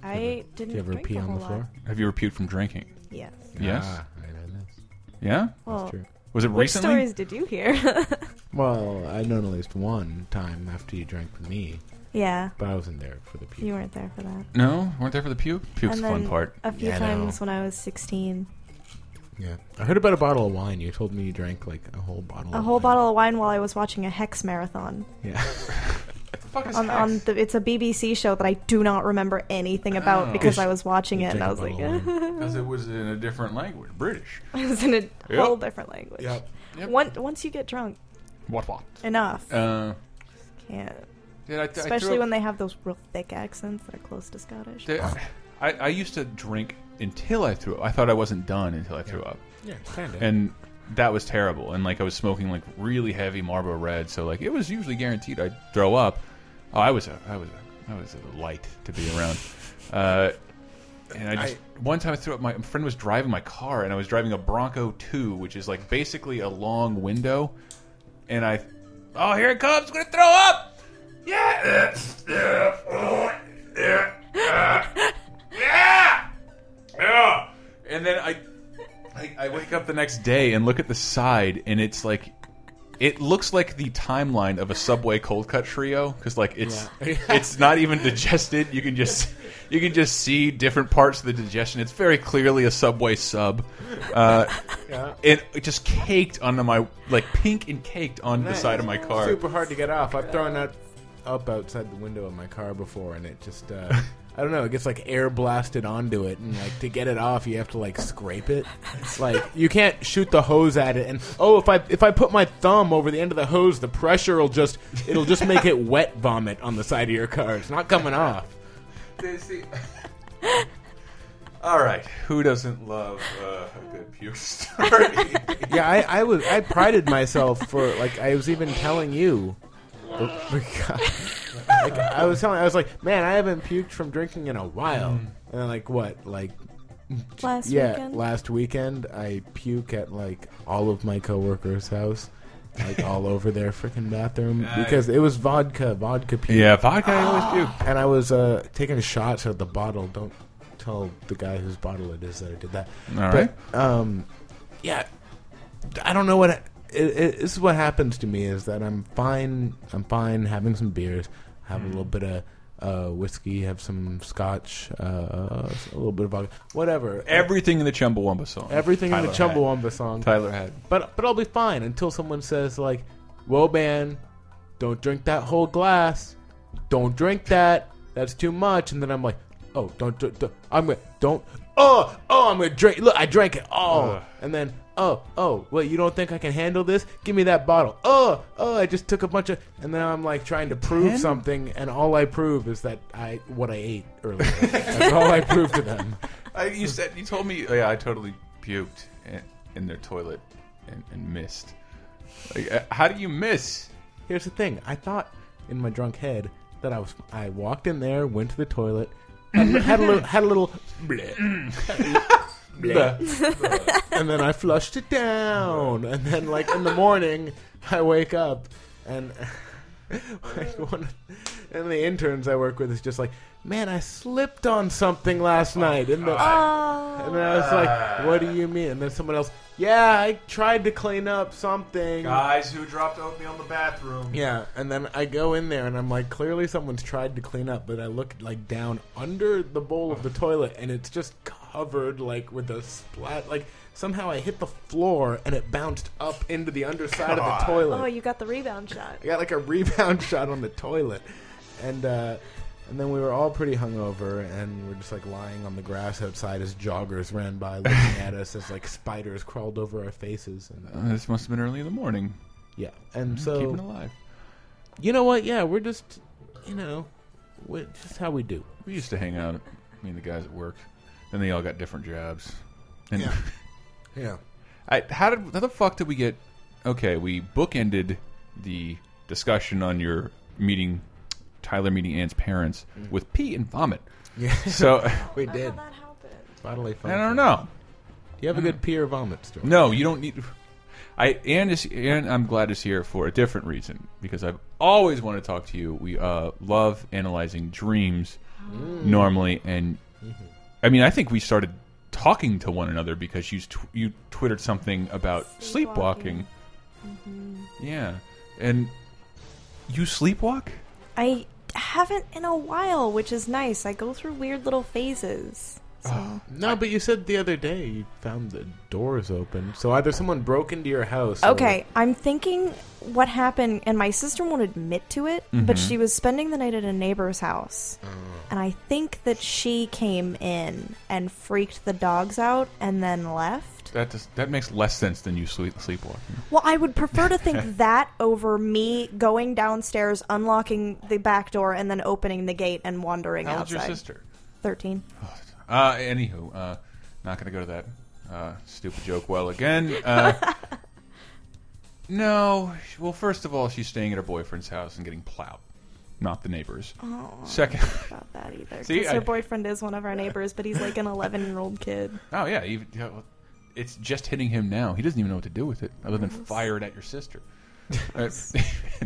I didn't.
Do you ever
drink
pee
a
on
whole
the floor?
Lot.
Have you ever puked from drinking?
Yes.
Yes.
Ah, I know this.
Yeah.
Well,
true.
Was it
which
recently?
stories did you hear?
Well, I known at least one time after you drank with me,
yeah,
but I wasn't there for the puke.
you weren't there for that.
No, weren't there for the puke. Puke's
and
the
then
fun part.
a few
Yeah, I know.
times when I was sixteen,
Yeah, I heard about a bottle of wine. You told me you drank like a whole bottle.
a
of
whole
wine.
bottle of wine while I was watching a hex marathon
Yeah.
Fuck is
on, on the. It's a BBC show that I do not remember anything about
Oh.
because
Did
I was watching
you
it and I
drink a
was like,
bottle of wine?
Because it was in a different language, British.
it was in a whole different language.
Yep.
Yep.
Once once you get drunk
What what?
enough,
Uh,
can't.
did I,
Especially
I
when they have those real thick accents that are close to Scottish.
they. I, I used to drink until I threw. up. I thought I wasn't done until I threw up,
yeah, kind of.
and that was terrible. And like I was smoking like really heavy Marlboro Red, so like it was usually guaranteed I'd throw up. Oh, I was a, I was a, I was a light to be around. Uh, and I just one time I threw up. My friend was driving my car, and I was driving a Bronco Two, which is like basically a long window. And I, oh, here it comes! Gonna throw up! Yeah! Yeah! Yeah! And then I, I, I wake up the next day and look at the side, and it's like. It looks like the timeline of a Subway cold cut trio because, like, it's
Yeah.
it's not even digested. You can just you can just see different parts of the digestion. It's very clearly a Subway sub. Uh,
yeah.
and it just caked onto my like pink and caked onto the
Nice.
side of my car.
Super hard to get off. I've thrown that up outside the window of my car before, and it just. Uh, I don't know. It gets like air blasted onto it, and like to get it off, you have to like scrape it. Like you can't shoot the hose at it, and oh, if I if I put my thumb over the end of the hose, the pressure will just it'll just make it wet vomit on the side of your car. It's not coming off.
They see- All right, who doesn't love uh, a good puke story?
Yeah, I, I was I prided myself for like I was even telling you. Oh my God. Like, I was telling I was like, man, I haven't puked from drinking in a while. And I'm like what? Like
Last
yeah,
weekend.
last weekend I puke at like all of my coworkers' house, like all over their freaking bathroom
Nice.
because it was vodka, vodka puke.
yeah, vodka I always puke.
and I was uh, taking shots at the bottle. Don't tell the guy whose bottle it is that I did that.
All
But, um, yeah, I don't know what. I- it, it, this is what happens to me is that I'm fine. I'm fine having some beers, have a little
Mm.
bit of uh, whiskey, have some scotch, uh, a little bit of vodka, whatever.
Everything in the Chumbawamba song.
Everything in the
Tyler had.
Chumbawamba song.
Tyler had.
But but I'll be fine until someone says like, "Whoa, man, don't drink that whole glass. Don't drink that. That's too much." And then I'm like, "Oh, don't. do do- I'm gonna don't. Oh, oh, I'm gonna drink. Look, I drank it all."
Ugh.
And then, "Oh, oh, well, you don't think I can handle this? Give me that bottle. Oh, oh, I just took a bunch of." And then I'm like trying to prove
Ten?
something, and all I prove is that I what I ate earlier. That's all I prove to them.
I, you said you told me. Yeah, I totally puked in, in their toilet and, and missed. Like, uh, how do you miss?
Here's the thing. I thought in my drunk head that I was. I walked in there, went to the toilet, had, had a little, had a little, bleh, bleh, and then I flushed it down. And then, like in the morning, I wake up and. Like one, of- and the interns I work with is just like, man, I slipped on something last night, and, the,
Ah.
and then I was like, what do you mean? And then someone else, yeah, I tried to clean up something,
Guys who dropped oatmeal in the bathroom.
yeah, and then I go in there and I'm like, clearly someone's tried to clean up, but I look like down under the bowl of the toilet and it's just covered like with a splat. Like somehow I hit the floor and it bounced up into the underside of
God.
the toilet.
Oh, you got the rebound shot.
I got like a rebound shot on the toilet, and uh, and then we were all pretty hungover, and we're just like lying on the grass outside as joggers ran by looking at us as like spiders crawled over our faces, and
this must have been early in the morning.
yeah, and so
Uh, Keeping alive.
you know what? Yeah, we're just, you know, we this is how we do.
We used to hang out. Me and the guys at work. Then they all got different jobs. And
Yeah. Yeah.
I, how did how the fuck did we get? Okay, we bookended the discussion on your meeting, Tyler meeting Ann's parents with pee and vomit.
Yeah.
So
We did.
that happened?
Bodily
I
function. Mm-hmm.
don't know.
Do you have a good pee or vomit story?
No, you don't need. I Anne is Anne. I'm glad is here for a different reason because I've always wanted to talk to you. We uh, love analyzing dreams Mm. normally, and I mean I think we started talking to one another because you tw- you twittered something about sleepwalking.
Sleepwalking. Mm-hmm.
Yeah, and you sleepwalk.
I haven't in a while, which is nice. I go through weird little phases. So
No, but you said the other day you found the doors open. So either someone broke into your house. or-
Okay, I'm thinking what happened, and my sister won't admit to it, but she was spending the night at a neighbor's house. And I think that she came in and freaked the dogs out and then left.
That does, that makes less sense than you sleep sleepwalking.
Well, I would prefer to think that over me going downstairs, unlocking the back door, and then opening the gate and wandering
How old's
outside.
your sister?
13.
Uh, anywho, uh, not gonna go to that uh, stupid joke well again. Uh, no, well, first of all, she's staying at her boyfriend's house and getting plowed, not the neighbors.
Oh.
Second,
about that either.
See,
Because
I-
her boyfriend is one of our neighbors, but he's like an 11 year old kid.
oh yeah, even, yeah, well, it's just hitting him now. He doesn't even know what to do with it other than fire it at your sister. Uh,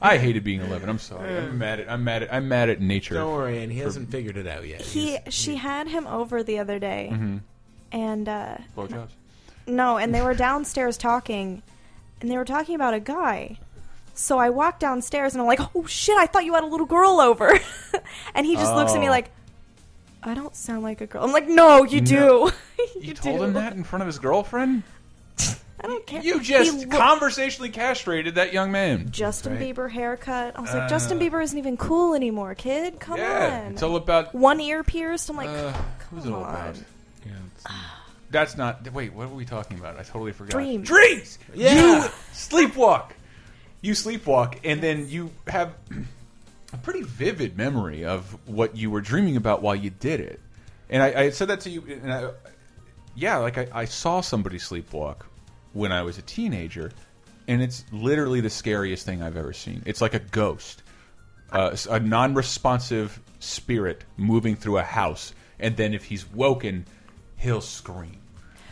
I hated being eleven. I'm sorry. I'm mad at. I'm mad at. I'm mad at nature.
Don't worry, and he hasn't figured it out yet.
He,
He's-
she had him over the other day,
Mm-hmm.
and uh,
Blowjobs.
no, and they were downstairs talking, and they were talking about a guy. So I walked downstairs and I'm like, oh shit, I thought you had a little girl over. and he just looks at me
Oh.
like, I don't sound like a girl. I'm like, no, you
No.
do. you
You, told
do.
him that in front of his girlfriend.
I don't care.
You
He
just
looked-
conversationally castrated that young man.
Justin
Right.
Bieber haircut. I was
Uh.
like, Justin Bieber isn't even cool anymore, kid. Come
Yeah,
on.
it's all about.
One ear pierced. I'm like,
Uh, who's it all
on.
about?
Yeah, it's-
Ah.
That's not. Wait, what were we talking about? I totally forgot.
Dreams.
Dreams. You
Yeah.
sleepwalk. You sleepwalk, and then you have a pretty vivid memory of what you were dreaming about while you did it. And I, I said that to you, and I, yeah, like I, I saw somebody sleepwalk when I was a teenager, and it's literally the scariest thing I've ever seen. It's like a ghost, uh, a non-responsive spirit moving through a house, and then if he's woken, he'll scream.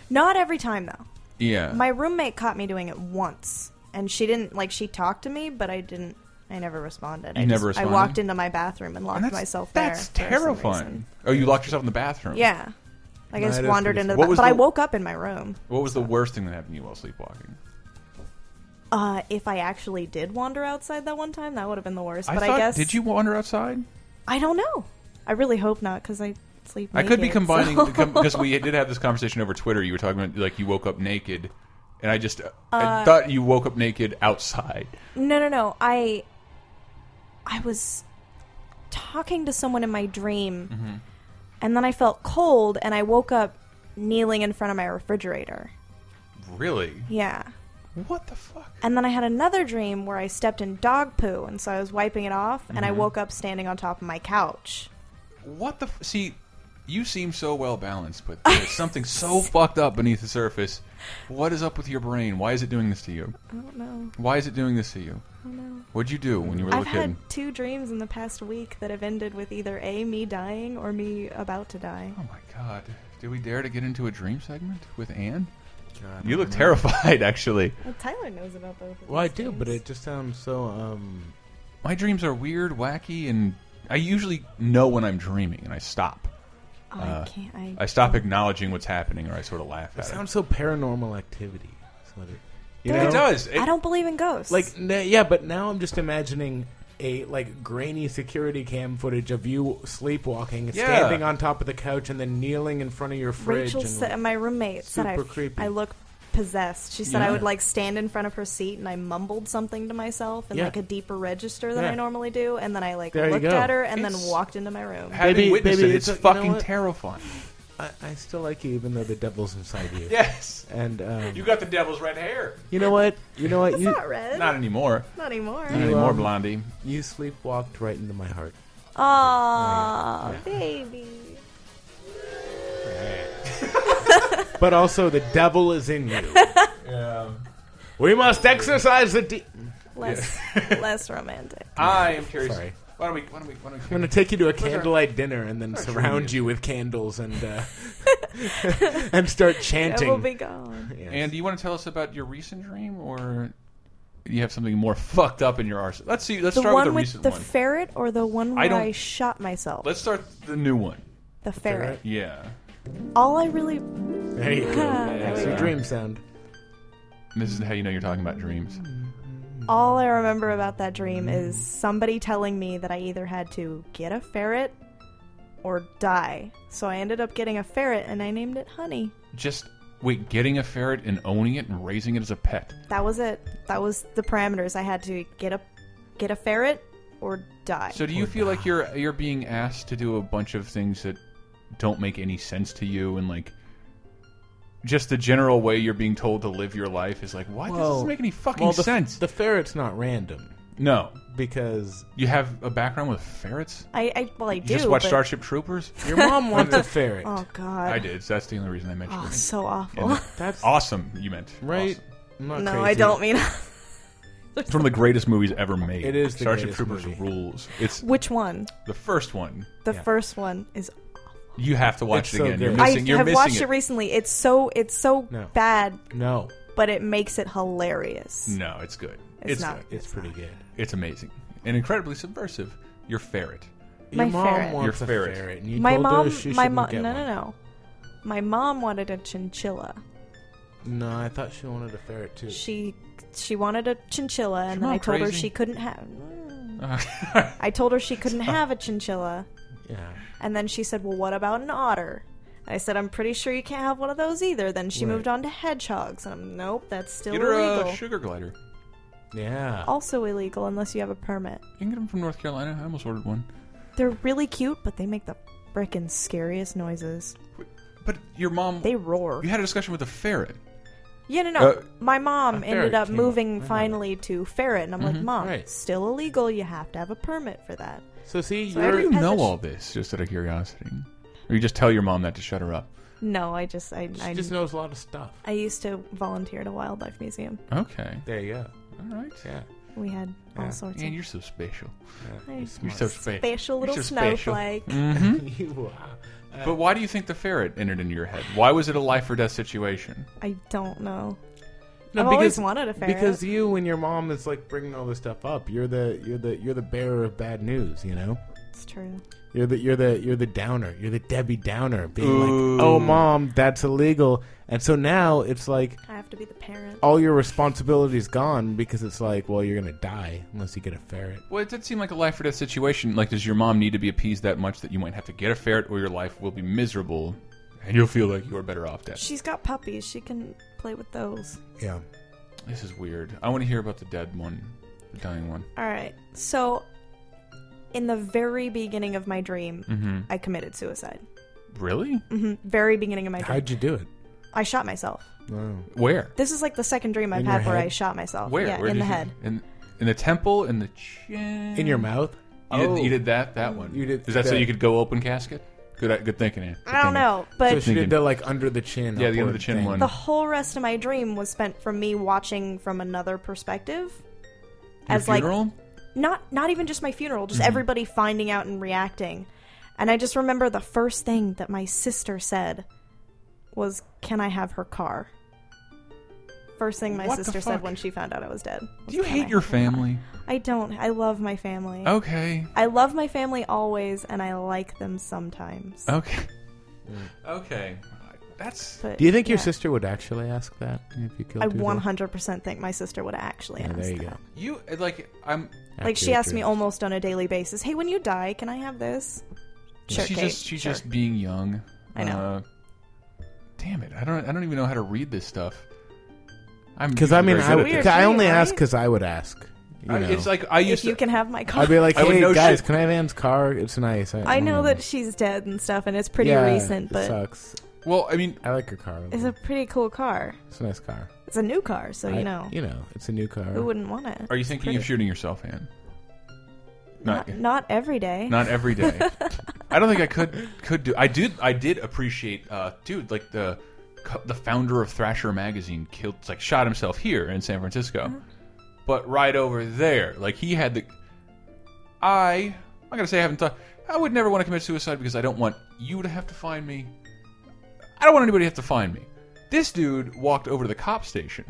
Not every time though.
Yeah,
My roommate caught me doing it once, and she didn't like. She talked to me, but I didn't. I never responded. I
You never
I walked
responded?
into my bathroom and locked
And that's,
myself there.
That's
for some
terrifying.
reason.
Oh, you locked yourself in the bathroom.
Yeah, like I
No,
just
that is
wandered
pretty
into. The
What
ba-
was
but
the-
I woke up in my room.
What was the worst thing that happened to you while sleepwalking?
Uh, if I actually did wander outside that one time, that would have been the worst.
I
but
thought,
I guess
did you wander outside?
I don't know. I really hope not because I sleep.
I could be
naked,
combining
so-
because we did have this conversation over Twitter. You were talking about like you woke up naked, and I just
Uh,
I thought you woke up naked outside.
No, no, no. I I was talking to someone in my dream.
Mm-hmm.
And then I felt cold and I woke up kneeling in front of my refrigerator.
Really?
Yeah.
What the fuck?
And then I had another dream where I stepped in dog poo and so I was wiping it off and
Mm-hmm.
I woke up standing on top of my couch.
What the f- see? You seem so well balanced, but there's something so fucked up beneath the surface. What is up with your brain? Why is it doing this to you?
I don't know.
Why is it doing this to you?
I don't know.
What'd you do when you were a
I've
little kid?
had two dreams in the past week that have ended with either A, me dying, or me about to die.
Oh my god! Do we dare to get into a dream segment with Anne?
God,
You
I
look
don't know.
terrified, actually.
Well, Tyler knows about both of
Well, I
these
do, but
dreams.
it just sounds so. um
My dreams are weird, wacky, and I usually know when I'm dreaming, and I stop.
Oh,
uh,
I can't. I,
I stop acknowledging what's happening, or I sort of laugh
It
at it.
sounds so paranormal activity. That's what it- you
There-
know?
It does. It-
I don't believe in ghosts.
Like n- yeah, but now I'm just imagining a like grainy security cam footage of you sleepwalking,
Yeah.
standing on top of the couch, and then kneeling in front of your fridge.
Rachel
and,
said, my roommate said I,
Super creepy.
I look possessed. She said
Yeah.
I would like stand in front of her seat and I mumbled something to myself in
Yeah.
like a deeper register than
Yeah.
I normally do, and then I like
There you
looked
go.
at her and
It's-
then walked into my room.
Having
Maybe-
witnessed
maybe
it, it's,
it's like, you know
fucking
what?
terrifying.
I, "I still like you, even though the devil's inside you."
Yes,
And um,
you got the devil's red hair.
you know what? You know what?
It's
You
not red.
Not
Not,
anymore.
anymore.
Not anymore,
um,
Blondie.
you sleepwalked right into my heart.
Aw, baby.
But also, the devil is in you. We must exercise the. De-
Less, less romantic.
I am curious.
Sorry.
Why don't we? Why don't we? Why don't
I'm
we?
going to take you to a
our-
candlelight dinner and then
where's our
surround
menu?
you with candles and uh, and start
I
chanting.
will be gone.
Yes.
And do you want to tell us about your recent dream, or you have something more fucked up in your arsenal? Let's see. Let's
The
start with
one
the
with
recent
the
one.
ferret or the one where I,
don't-
shot myself?
Let's start the new one.
the ferret.
ferret.
Yeah,
All I really.
there you go. That's your dream sound.
this is how you know you're talking about dreams.
All I remember about that dream is somebody telling me that I either had to get a ferret or die. So I ended up getting a ferret and I named it Honey.
Just wait, getting a ferret and owning it and raising it as a pet.
That was it. That was the parameters. I had to get a get a ferret or die.
So do you feel like you're you're being asked to do a bunch of things that don't make any sense to you and like just the general way you're being told to live your life is like why does
Well-
this make any fucking
Well, the,
sense?
the ferret's not random
no.
because
You have a background with ferrets?
I, I well I
You
do.
just watched
but-
Starship Troopers?
your mom wants a ferret,
Oh god.
I did. So that's the only reason I mentioned
Oh,
it.
so awful.
And
That's-
awesome, you meant.
right?
Awesome.
I'm not
no,
crazy.
I don't mean.
It's one of the greatest movies ever made.
It is the
Starship
greatest
Troopers
movie.
rules. It's
Which one?
the first one.
The
Yeah.
first one is
You have to watch
It's
it
so
again. You're
good.
I
missing you're
have
missing
watched
it.
it. recently. It's so it's so
No.
bad,
No,
but it makes it hilarious.
no, it's good.
It's not.
good.
it's pretty good.
It's amazing and incredibly subversive. Your ferret.
My
your mom
ferret.
wants
Your
a
ferret.
ferret. and you
my
told
mom
her she
my
shouldn't
mom no
get
no
one.
no my mom wanted a chinchilla
No, I thought she wanted a ferret too.
she she wanted a chinchilla and then
mom
i told her
crazy?
she couldn't have i told her she couldn't have a chinchilla
Yeah.
and then she said well what about an otter i said i'm pretty sure you can't have one of those either then she
Right.
moved on to hedgehogs and i'm nope that's still
Get her
illegal
a sugar glider.
Yeah.
also illegal unless you have a permit
You can get them from North Carolina. I almost ordered one.
they're really cute but they make the frickin' scariest noises
But your mom.
they roar
you had a discussion with a ferret.
Yeah, no, no.
Uh,
My mom
a ferret
ended up
came
moving
up. Mm-hmm.
finally to ferret, and I'm like, Mom,
Right.
still illegal. You have to have a permit for that.
So see,
So
you're
How do you
Has a
know
sh-
all this? Just out of curiosity. Or you just tell your mom that to shut her up.
No, I just I
She
I,
just knows a lot of stuff.
I used to volunteer at a wildlife museum.
Okay.
There you go.
All right.
Yeah.
We had all
Yeah.
sorts
And
of
you're so special.
yeah.
Hey.
You're so special.
special little
so special.
snowflake.
Mm-hmm.
Mm-hmm.
you are. Uh,
But why do you think the ferret entered into your head? Why was it a life or death situation?
I don't know.
no,
I've always wanted a ferret.
Because you and your mom is like bringing all this stuff up. You're the you're the you're the bearer of bad news. You know.
It's true.
You're the you're the you're the downer. You're the Debbie Downer, being
Ooh.
like, "Oh, mom, that's illegal." And so now it's like
I have to be the parent.
Oh.
all your responsibility's gone because it's like, well, you're gonna die unless you get a ferret.
Well, it did seem like a life or death situation. Like, does your mom need to be appeased that much that you might have to get a ferret, or your life will be miserable, and you'll feel like you're better off dead?
She's got puppies. She can play with those.
Yeah.
This is weird. I want to hear about the dead one, the dying one.
All right. So, in the very beginning of my dream,
Mm-hmm.
I committed suicide.
Really?
hmm Very beginning of my dream.
How'd you do it?
I shot myself.
Wow.
Where?
This is like the second dream I've
In
had
your
where
head?
I shot myself.
Where?
Oh, Yeah,
Where
in
did
the
you-
head.
In, in the temple, in the chin,
In your mouth?
You, did-
Oh.
you did that. That one.
You did
Is that so
that.
you could go open casket? Good. Good thinking. Ann. Good
I don't
thinking.
know,
Oh. So
but
she
Thinking-
did the like under the chin.
Yeah, the under
upward
the chin
thing.
one.
the whole rest of my dream was spent from me watching from another perspective.
Your
as like
funeral? Mm-hmm.
not not even just my funeral, just everybody finding out and reacting. And I just remember the first thing that my sister said was, "Can I have her car?" First thing my
What the
sister said
fuck?
when she found out I was dead. was,
Do you
"Can I
hate your
have her car?"
family? Oh.
I don't. I love my family.
Okay.
I love my family always, and I like them sometimes.
Okay.
Mm.
Okay. That's
But,
Do you think your
yeah,
sister would actually ask that if you killed
I
her?
100% think my sister would actually
Yeah,
ask
there you
that.
go.
you. Like I'm.
Like
After
she
your
asks me
dreams.
almost on a daily basis, "Hey, when you die, can I have this?" Sure,
she's
Kate,
just she's
sure.
just being young.
I know.
Uh, damn it! I don't I don't even know how to read this stuff. I'm
Because I mean,
very
I,
good
would-
at
Weird
this.
I only
dream,
ask
right?
because I would ask. You
I-
know?
It's like I used
If you
to.
can have my car,
I'd be like,
I would
"Hey
know
guys,
shit.
can I have Anne's car? It's nice." I,
I know
mm."
that she's dead and stuff, and it's pretty
Yeah,
recent,
it
but
sucks.
well, I mean,
I like her car.
it's a pretty cool car.
It's a nice car.
It's a new car, so
I-
you know
you know, it's a new car.
who wouldn't want it.
are you thinking of
pretty.
shooting yourself, Anne?
Not, not every day.
Not every day. I don't think I could could do. I did I did appreciate, uh, dude. Like the co- the founder of Thrasher magazine killed, like shot himself here in San Francisco,
Uh-huh.
but right over there, like he had the. I I'm gonna say I haven't thought. I would never want to commit suicide because I don't want you to have to find me. I don't want anybody to have to find me. This dude walked over to the cop station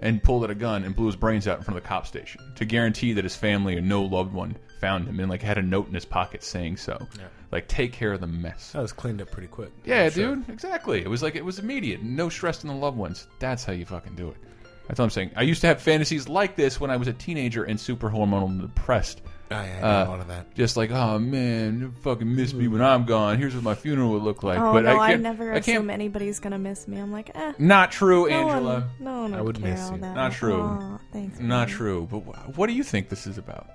and pulled out a gun and blew his brains out in front of the cop station to guarantee that his family or no loved one found him and like had a note in his pocket saying so. Like take care of the mess.
That was cleaned up pretty quick.
yeah,
I'm sure.
dude, exactly. It was like it was immediate. No stress on the loved ones. That's how you fucking do it. That's what I'm saying. I used to have fantasies like this when I was a teenager and super hormonal and depressed.
Oh, I, I know
Uh,
all of that.
Just like, oh man, you fucking miss me when I'm gone. Here's what my funeral would look like.
oh
but
no,
I,
I,
can't,
never
I
assume
can't.
anybody's gonna miss me. I'm like, eh,
Not true,
no
Angela.
one, no one
I
would
would
care
miss
all
you.
that.
Not true.
Aw, thanks.
Not
man.
true. But wh- what do you think this is about?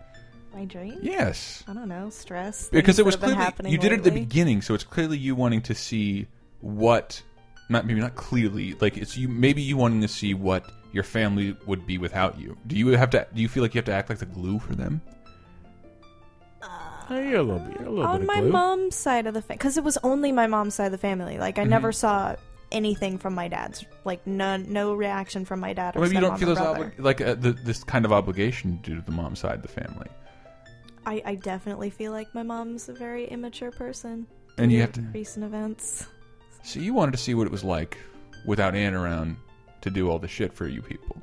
My dream.
Yes.
I don't know. Stress.
Because
things
it was
that have been
clearly
happening
you did it at the
lately.
beginning, so it's clearly you wanting to see what not maybe not clearly, like it's you maybe you wanting to see what your family would be without you. Do you have to do you feel like you have to act like the glue for them?
Oh, you're a little bit. You're a little bit
on
of
my
glue.
mom's side of the family because it was only my mom's side of the family like
Mm-hmm.
i never saw anything from my dad's like none no reaction from my dad or
Or maybe you don't
stepmom
feel
or
as
brother.
obli- like uh, the, this kind of obligation due to the mom side of the family.
I, I definitely feel like my mom's a very immature person
And you
Due
have to
recent events
So you wanted to see what it was like without Anne around to do all the shit for you people.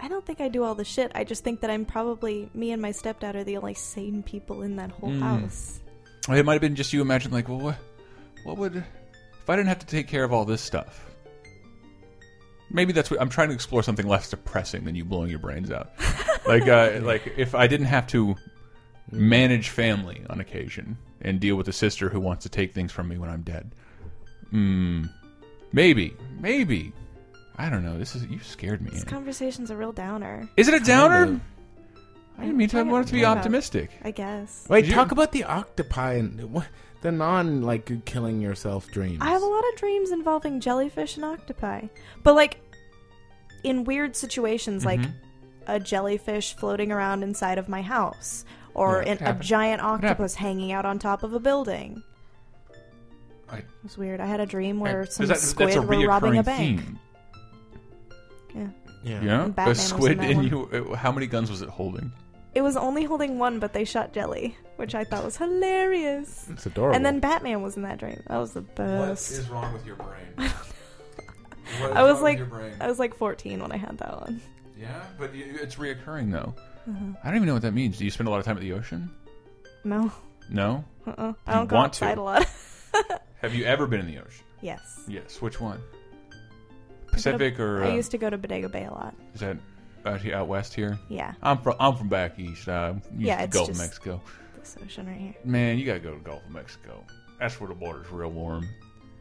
i don't think i do all the shit i just think that i'm probably me and my stepdad are the only sane people in that whole
Mm.
house
Or It might have been just you imagining, like, well, what, what would if I didn't have to take care of all this stuff? Maybe that's what I'm trying to explore something less depressing than you blowing your brains out. like, uh, like if I didn't have to manage family on occasion and deal with a sister who wants to take things from me when I'm dead. Hmm. Maybe, maybe. I don't know. This is you scared me.
this
Annie.
conversation's a real downer
Is it a downer?
of.
I didn't mean to. I wanted to be
Kind of.
optimistic.
i guess
Wait,
Did you-
talk about the octopi and what, the non like killing yourself dreams.
I have a lot of dreams involving jellyfish and octopi. But like in weird situations like
Mhm.
a jellyfish floating around inside of my house or
Yeah,
an,
it
a
happens.
giant
happens.
octopus hanging out on top of a building.
I,
It was weird. I had a dream where
I-
some
that-
squid
that's a
were robbing a
reoccurring
bank.
Theme,
Yeah.
Yeah.
yeah,
Batman
a
was in
squid
that
in
one.
you. uh, How many guns was it holding?
It was only holding one, but they shot jelly, which I thought was hilarious.
It's
Oh,
adorable.
And then Batman was in that dream. That was the best.
wrong with your brain?
I was like, I was like 14 when I had that one.
yeah, but you, it's reoccurring though.
Mm-hmm.
I don't even know what that means. Do you spend a lot of time at the ocean?
No,
No.
uh-uh.
You
I don't go
want to.
outside a lot.
Have you ever been in the ocean?
yes,
Yes. Which one? Pacific or
I
uh,
used to go to Bodega Bay a lot.
is that out here out west here?
Yeah,
I'm from I'm from back east. Uh, I'm used
Yeah,
to
it's
Gulf of
just-
Mexico.
this ocean right here,
Man, you gotta go to Gulf of Mexico. That's where the water's real warm.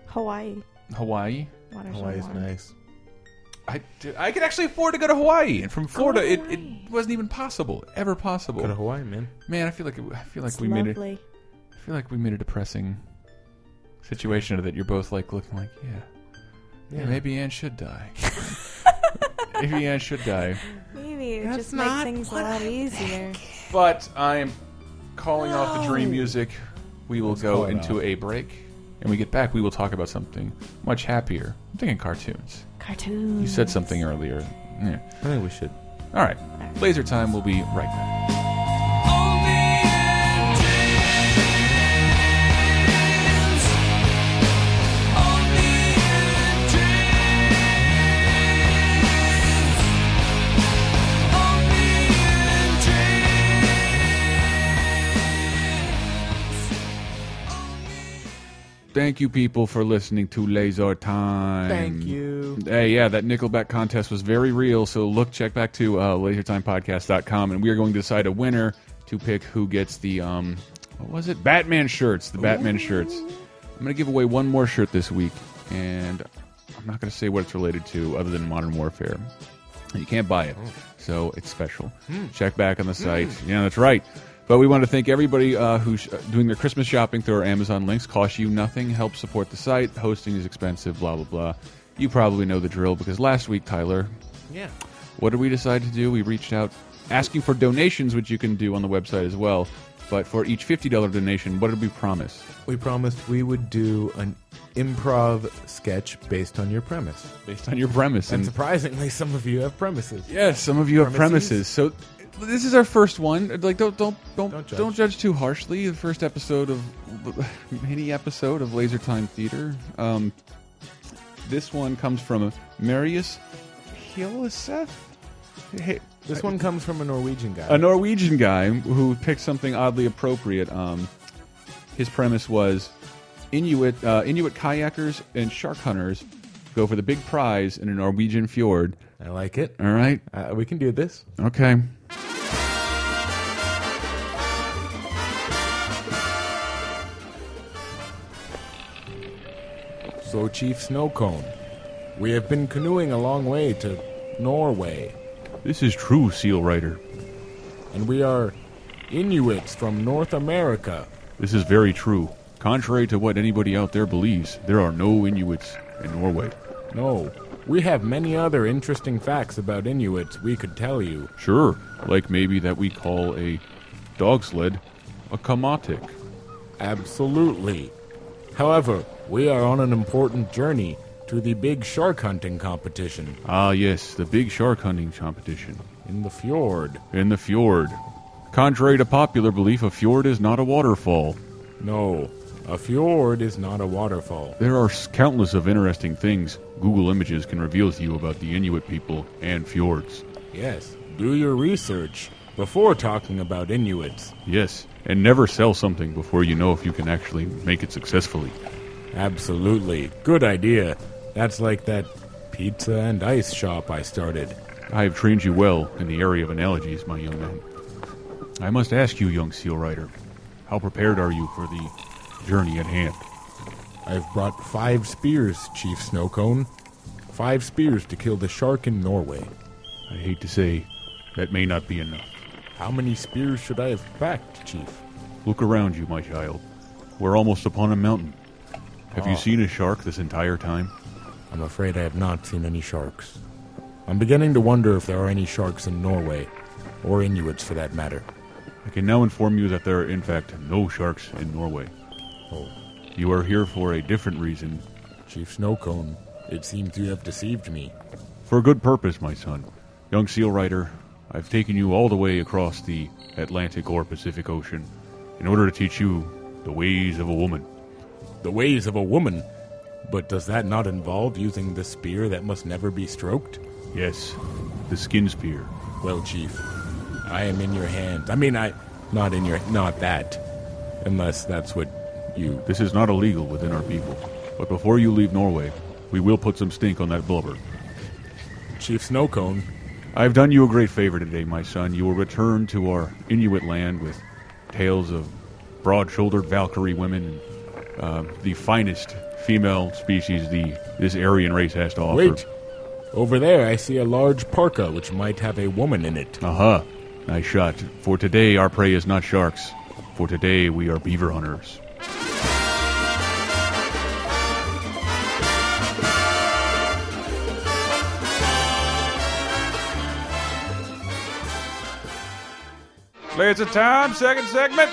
Hawaii.
Hawaii.
Water's so
Hawaii's
warm.
nice.
I, dude, I could actually afford to go to Hawaii, and from Florida, it, it
Hawaii.
wasn't even possible, ever
Go to
possible.
Hawaii, man.
Man, I feel like it, I feel like
It's
we made it.
lovely.
I feel like we made a depressing situation that you're both like looking like, yeah, yeah, maybe Anne should die. maybe Anne should die.
Maybe it
That's
just
not
make things a lot easier.
But I am calling off the dream music. We will go
call it
into
off.
a break, and we get back. We will talk about something much happier. I'm thinking cartoons.
Cartoons.
You said something earlier. Yeah.
I think we should.
All right. Laser time. We'll be right back. Thank you, people, for listening to Laser Time.
Thank you.
Hey, yeah, that Nickelback contest was very real. So look, check back to uh, lasertimepodcast.com, and we are going to decide a winner to pick who gets the um, what was it? Batman shirts. The Batman shirts. I'm going to give away one more shirt this week, and I'm not going to say what it's related to, other than Modern Warfare. And you can't buy it, so it's special. Check back on the site. Yeah, that's right. But we want to thank everybody uh, who's uh, doing their Christmas shopping through our Amazon links. Costs you nothing. Help support the site. Hosting is expensive. Blah blah blah. You probably know the drill because last week, Tyler,
Yeah.
what did we decide to do? We reached out asking for donations, which you can do on the website as well. But for each fifty dollar donation, what did we promise?
We promised we would do an improv sketch based on your premise.
Based on your premise.
And
And
surprisingly, some of you have premises.
yes, some of you have premises.
Premises?
So this is our first one. Like don't don't don't don't
Don't
judge,
judge.
too harshly. The first episode of mini episode of Laser Time Theater. Um, this one comes from Marius Hilseth. Hey,
This one comes from a Norwegian guy.
a Norwegian guy who picked something oddly appropriate. Um, his premise was Inuit uh, Inuit kayakers and shark hunters go for the big prize in a Norwegian fjord.
I like it.
All right,
Uh, we can do this.
okay.
So, Chief Snowcone, we have been canoeing a long way to Norway,
This is true, Seal Rider.
and we are Inuits from North America.
This is very true. Contrary to what anybody out there believes, there are no Inuits in Norway.
No, we have many other interesting facts about Inuits we could tell you.
Sure, like maybe that we call a dog sled a kamatik.
Absolutely. However, we are on an important journey to the big shark hunting competition
Ah, yes, the big shark hunting competition.
in the fjord.
in the fjord. Contrary to popular belief, a fjord is not a waterfall.
No, a fjord is not a waterfall.
There are s- countless of interesting things Google Images can reveal to you about the Inuit people and fjords.
Yes, do your research before talking about Inuits.
Yes, and never sell something before you know if you can actually make it successfully.
Absolutely. Good idea. That's like that pizza and ice shop I started.
I have trained you well in the area of analogies, my young man. I must ask you, young seal rider, how prepared are you for the journey at hand?
I've brought five spears, Chief Snowcone. Five spears to kill the shark in Norway.
I hate to say, that may not be enough.
How many spears should I have packed, Chief?
Look around you, my child. We're almost upon a mountain. Have you
Ah.
seen a shark this entire time?
I'm afraid I have not seen any sharks. I'm beginning to wonder if there are any sharks in Norway, or Inuits for that matter.
I can now inform you that there are, in fact, no sharks in Norway.
Oh,
You are here for a different reason.
Chief Snowcone, it seems you have deceived me.
For a good purpose, my son. Young Seal Rider, I've taken you all the way across the Atlantic or Pacific Ocean in order to teach you the ways of a woman.
The ways of a woman. But does that not involve using the spear that must never be stroked?
Yes, the skin spear.
Well, Chief, I am in your hands. I mean, I. Not in your. Not that. Unless that's what you.
This is not illegal within our people. But before you leave Norway, we will put some stink on that blubber.
Chief Snowcone,
I have done you a great favor today, my son. You will return to our Inuit land with tales of broad shouldered Valkyrie women, uh, the finest female species the this Aryan race has to offer.
wait. Over there, I see a large parka which might have a woman in it.
Aha. Uh-huh. Nice shot. For today, our prey is not sharks. For today, we are beaver hunters. Clear the time, second segment.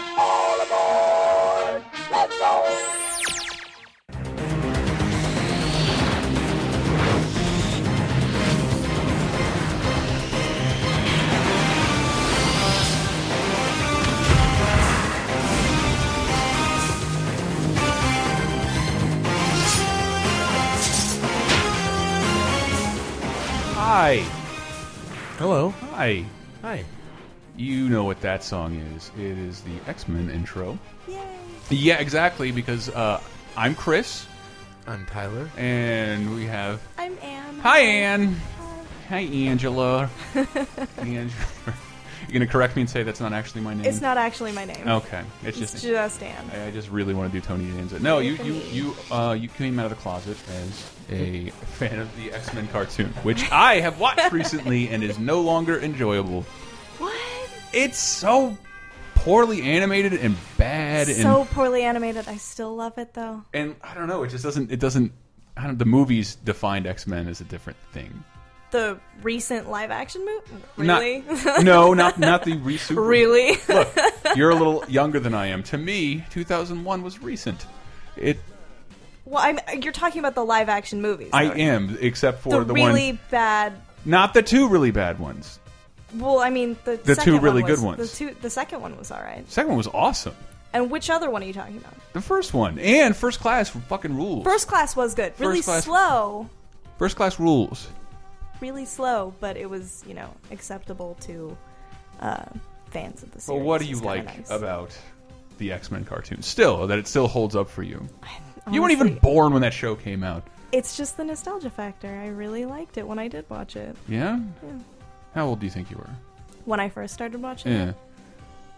Hi.
Hello.
Hi.
Hi.
You know what that song is. It is the X Men intro.
Yay.
Yeah, exactly, because uh, I'm Chris,
I'm Tyler.
and we have.
I'm Anne.
Hi, Anne. Hi, Angela. Angela. You're going to correct me and say that's not actually my name?
It's not actually my name.
Okay. It's
It's
just.
just, Anne.
I I just really want to do Tony Danza. No, you
for
you
me.
you uh, you came out of the closet as a fan of the X Men cartoon, which I have watched recently and is no longer enjoyable.
What?
It's so poorly animated and bad,
So poorly animated. I still love it though.
and and I don't know. It just doesn't. It doesn't. I don't, the movies defined X Men as a different thing.
The recent live action movie?
Not-
Really?
no, not not the re-super.
really?
Look, you're a little younger than I am. To me, 2001 was recent. It.
well, I'm, you're talking about the live action movies.
I
though.
am, except for
The,
the,
really
one,
bad.
not the two really bad ones.
Well, I mean, the
The two
second one
really
was-
good ones.
The two, the second one was all right.
Second one was awesome.
And which other one are you talking about?
The first one and first class fucking rules.
First class was good. really
Class-
slow.
First class rules.
Really slow, but it was you know acceptable to uh, fans of the
But
series.
what do
It's
you
kinda
like
nice.
about the X Men cartoon? Still, that it still holds up for you. you weren't even
Honestly,
born when that show came out.
It's just the nostalgia factor. I really liked it when I did watch it.
Yeah.
Yeah.
How old do you think you were?
When I first started watching
Yeah, Uh,
it,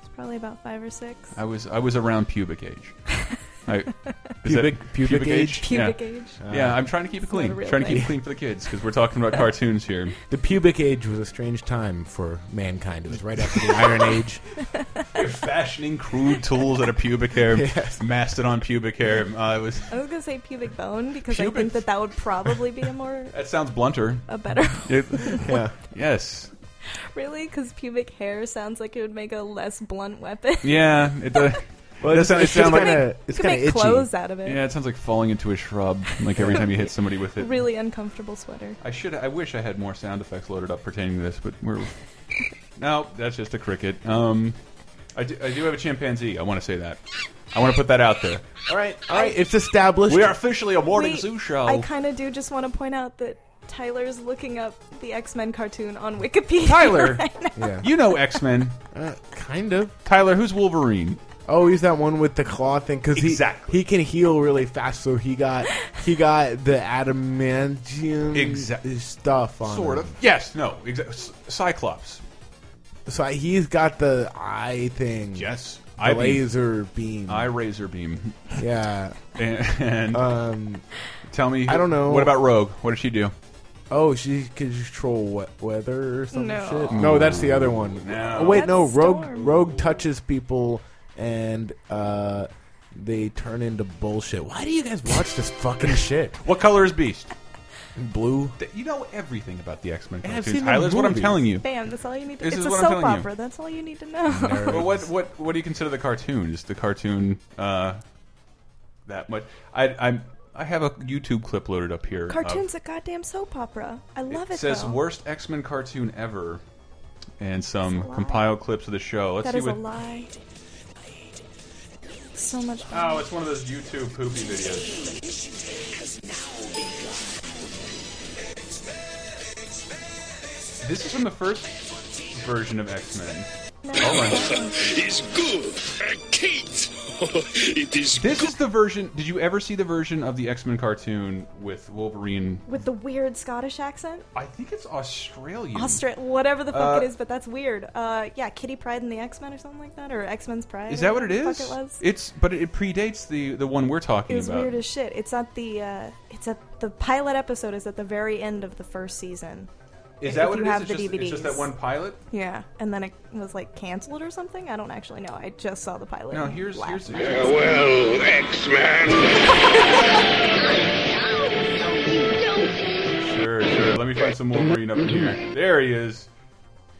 it's probably about five or six.
I was. I was around pubic age. I, is
Pubic-
that-
pubic age?
Pubic
yeah.
age.
Uh,
Yeah, I'm trying to keep it
It's not
clean.
a real
Trying to keep
thing.
it clean for the kids because we're talking about cartoons here.
The pubic age was a strange time for mankind. It was right after the Iron Age.
You're fashioning crude tools out of pubic hair,
Yes.
mastodon pubic hair. Uh, it was.
I was gonna say pubic bone because
Pubic-
I think that that would probably be a more
That sounds blunter.
a better
It-
Yeah.
yes.
really because pubic hair sounds like it would make a less blunt weapon.
Yeah. It does.
Well,
That sounds-
it's,
it sounds
just
like-
kind of it's
you could
kind
make
of itchy.
clothes out of it.
Yeah, it sounds like falling into a shrub. Like every time you hit somebody with it.
Really uncomfortable sweater.
I should. I wish I had more sound effects loaded up pertaining to this, but we're. no, that's just a cricket. Um, I do, I do have a chimpanzee. I want to say that. I want to put that out there.
All right, all right, it's established.
We are officially a morning
Wait,
zoo show.
I kind of do just want to point out that Tyler's looking up the X Men cartoon on Wikipedia.
Tyler,
Yeah,
you know X Men.
uh, kind of.
Tyler, who's Wolverine?
Oh, he's that one with the claw thing because he
Exactly.
he can heal really fast. So he got he got the adamantium
Exact-
stuff on
Sort
him.
of. Yes. No. Exactly. Cyclops.
So he's got the eye thing.
Yes.
the
I
laser beam.
I razor beam.
yeah.
And, and
Um.
tell me.
I don't know.
What about Rogue? What did she do?
Oh, she can control we- weather or some
No.
shit. No, that's the other one.
Mm. No.
Oh, wait,
That's
no. Rogue
Storm.
Rogue touches people and uh, they turn into bullshit. Why do you guys watch this fucking shit?
What color is Beast?
Blue.
Th- You know everything about the X Men
I've
cartoons.
seen the
Tyler's what I'm
movies.
telling you.
Bam, that's all you need to
This
It's
is
a
what I'm
soap
telling you.
opera. That's all you need to know.
Well, what what what do you consider the cartoons? The cartoon uh, that much. I I'm I have a YouTube clip loaded up here. of-
Cartoon's a goddamn soap opera. I love it.
uh, says
though.
worst X Men cartoon ever, and
That's a
some
lie.
compiled clips of the show. Let's
That
see
is
what.
a lie. So much.
Oh, it's one of those YouTube poopy videos. This is from the first version of X Men. Oh my!
is good. Uh, Kate, it is
This is the version. Did you ever see the version of the X Men cartoon with Wolverine?
With the weird Scottish accent,
I think it's Australian.
Austra- whatever the fuck
Uh,
it is, but that's weird. Uh, yeah, Kitty Pride and the X Men or something like that, or X Men's Pride.
Is
or
that what it
whatever the
is?
fuck it was.
It's but it predates the the one we're talking
It was
about.
weird as shit. It's at the uh, it's at the pilot episode is at the very end of the first season.
is
if
that what
you
it is?
have
it's,
the
just, it's just
DVDs.
that one pilot.
Yeah, and then it was like canceled or something. I don't actually know. I just saw the pilot.
No,
and
here's
laughed.
here's.
well, X-Man.
Sure, sure. Let me find some Wolverine up in here. There he is.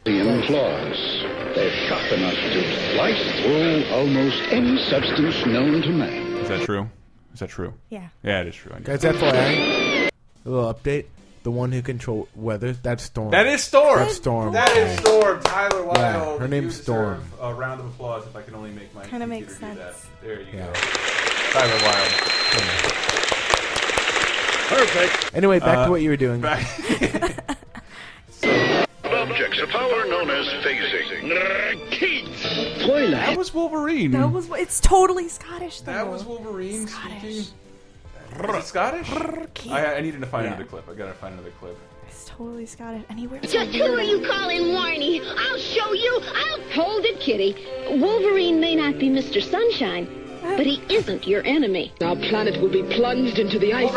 Alien claws. They're sharp enough to slice through almost any substance known to man.
Is that true? Is that true?
Yeah.
Yeah, it is true. I know.
Guys, FYI, a little update. The one who control weather, that's Storm.
That is Storm.
That's Storm.
That is Storm. Tyler Wilde.
Yeah, her
You
name's
deserve A round of applause if I can only make my
Kinda makes
computer do
sense.
that. There you
Yeah.
go. Tyler Wilde.
Perfect.
Anyway, back
Uh,
to what you were doing.
Objects of power known as phasing.
Uh, Kate,
That was Wolverine.
That was it's totally Scottish though.
That was Wolverine
Scottish.
speaking. Is it Scottish? I, I needed to find another clip. I gotta find another clip.
It's totally Scottish. And he wears
Just who are you calling whiny? I'll show you. I'll hold it, Kitty. Wolverine may not be Mr. Sunshine, but he isn't your enemy.
Our planet will be plunged into the ice.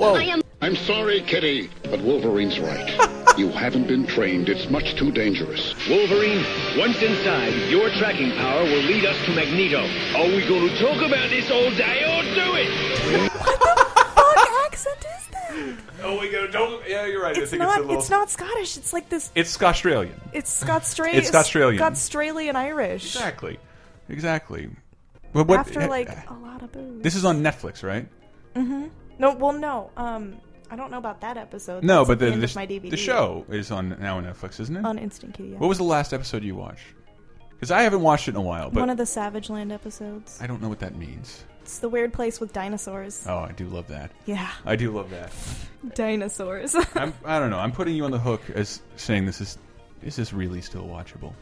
I am
I'm sorry, Kitty, but Wolverine's right. you haven't been trained. It's much too dangerous.
Wolverine, once inside, your tracking power will lead us to Magneto. Are we going to talk about this all day or do it?
What accent is that?
Oh my god! Don't. Yeah, you're right. I
It's
think
not
it's a little.
it's not Scottish. It's like this
It's Australian.
it's Scott Stray
It's Australian.
Scott Straley and Irish.
Exactly. Exactly. But what?
After like a lot of booze.
This is on Netflix, right?
No, well no. Um I don't know about that episode.
No,
That's
but
at the,
the
end
the,
of my DVD.
the show is on now on Netflix, isn't it?
on Instant Kitty. yeah.
Mm-hmm. what was the last episode you watched? Because I haven't watched it in a while, but
One of the Savage Land episodes.
I don't know what that means.
It's the weird place with dinosaurs.
Oh, I do love that.
Yeah,
I do love that.
dinosaurs.
I'm, I don't know. I'm putting you on the hook as saying this is is this really still watchable?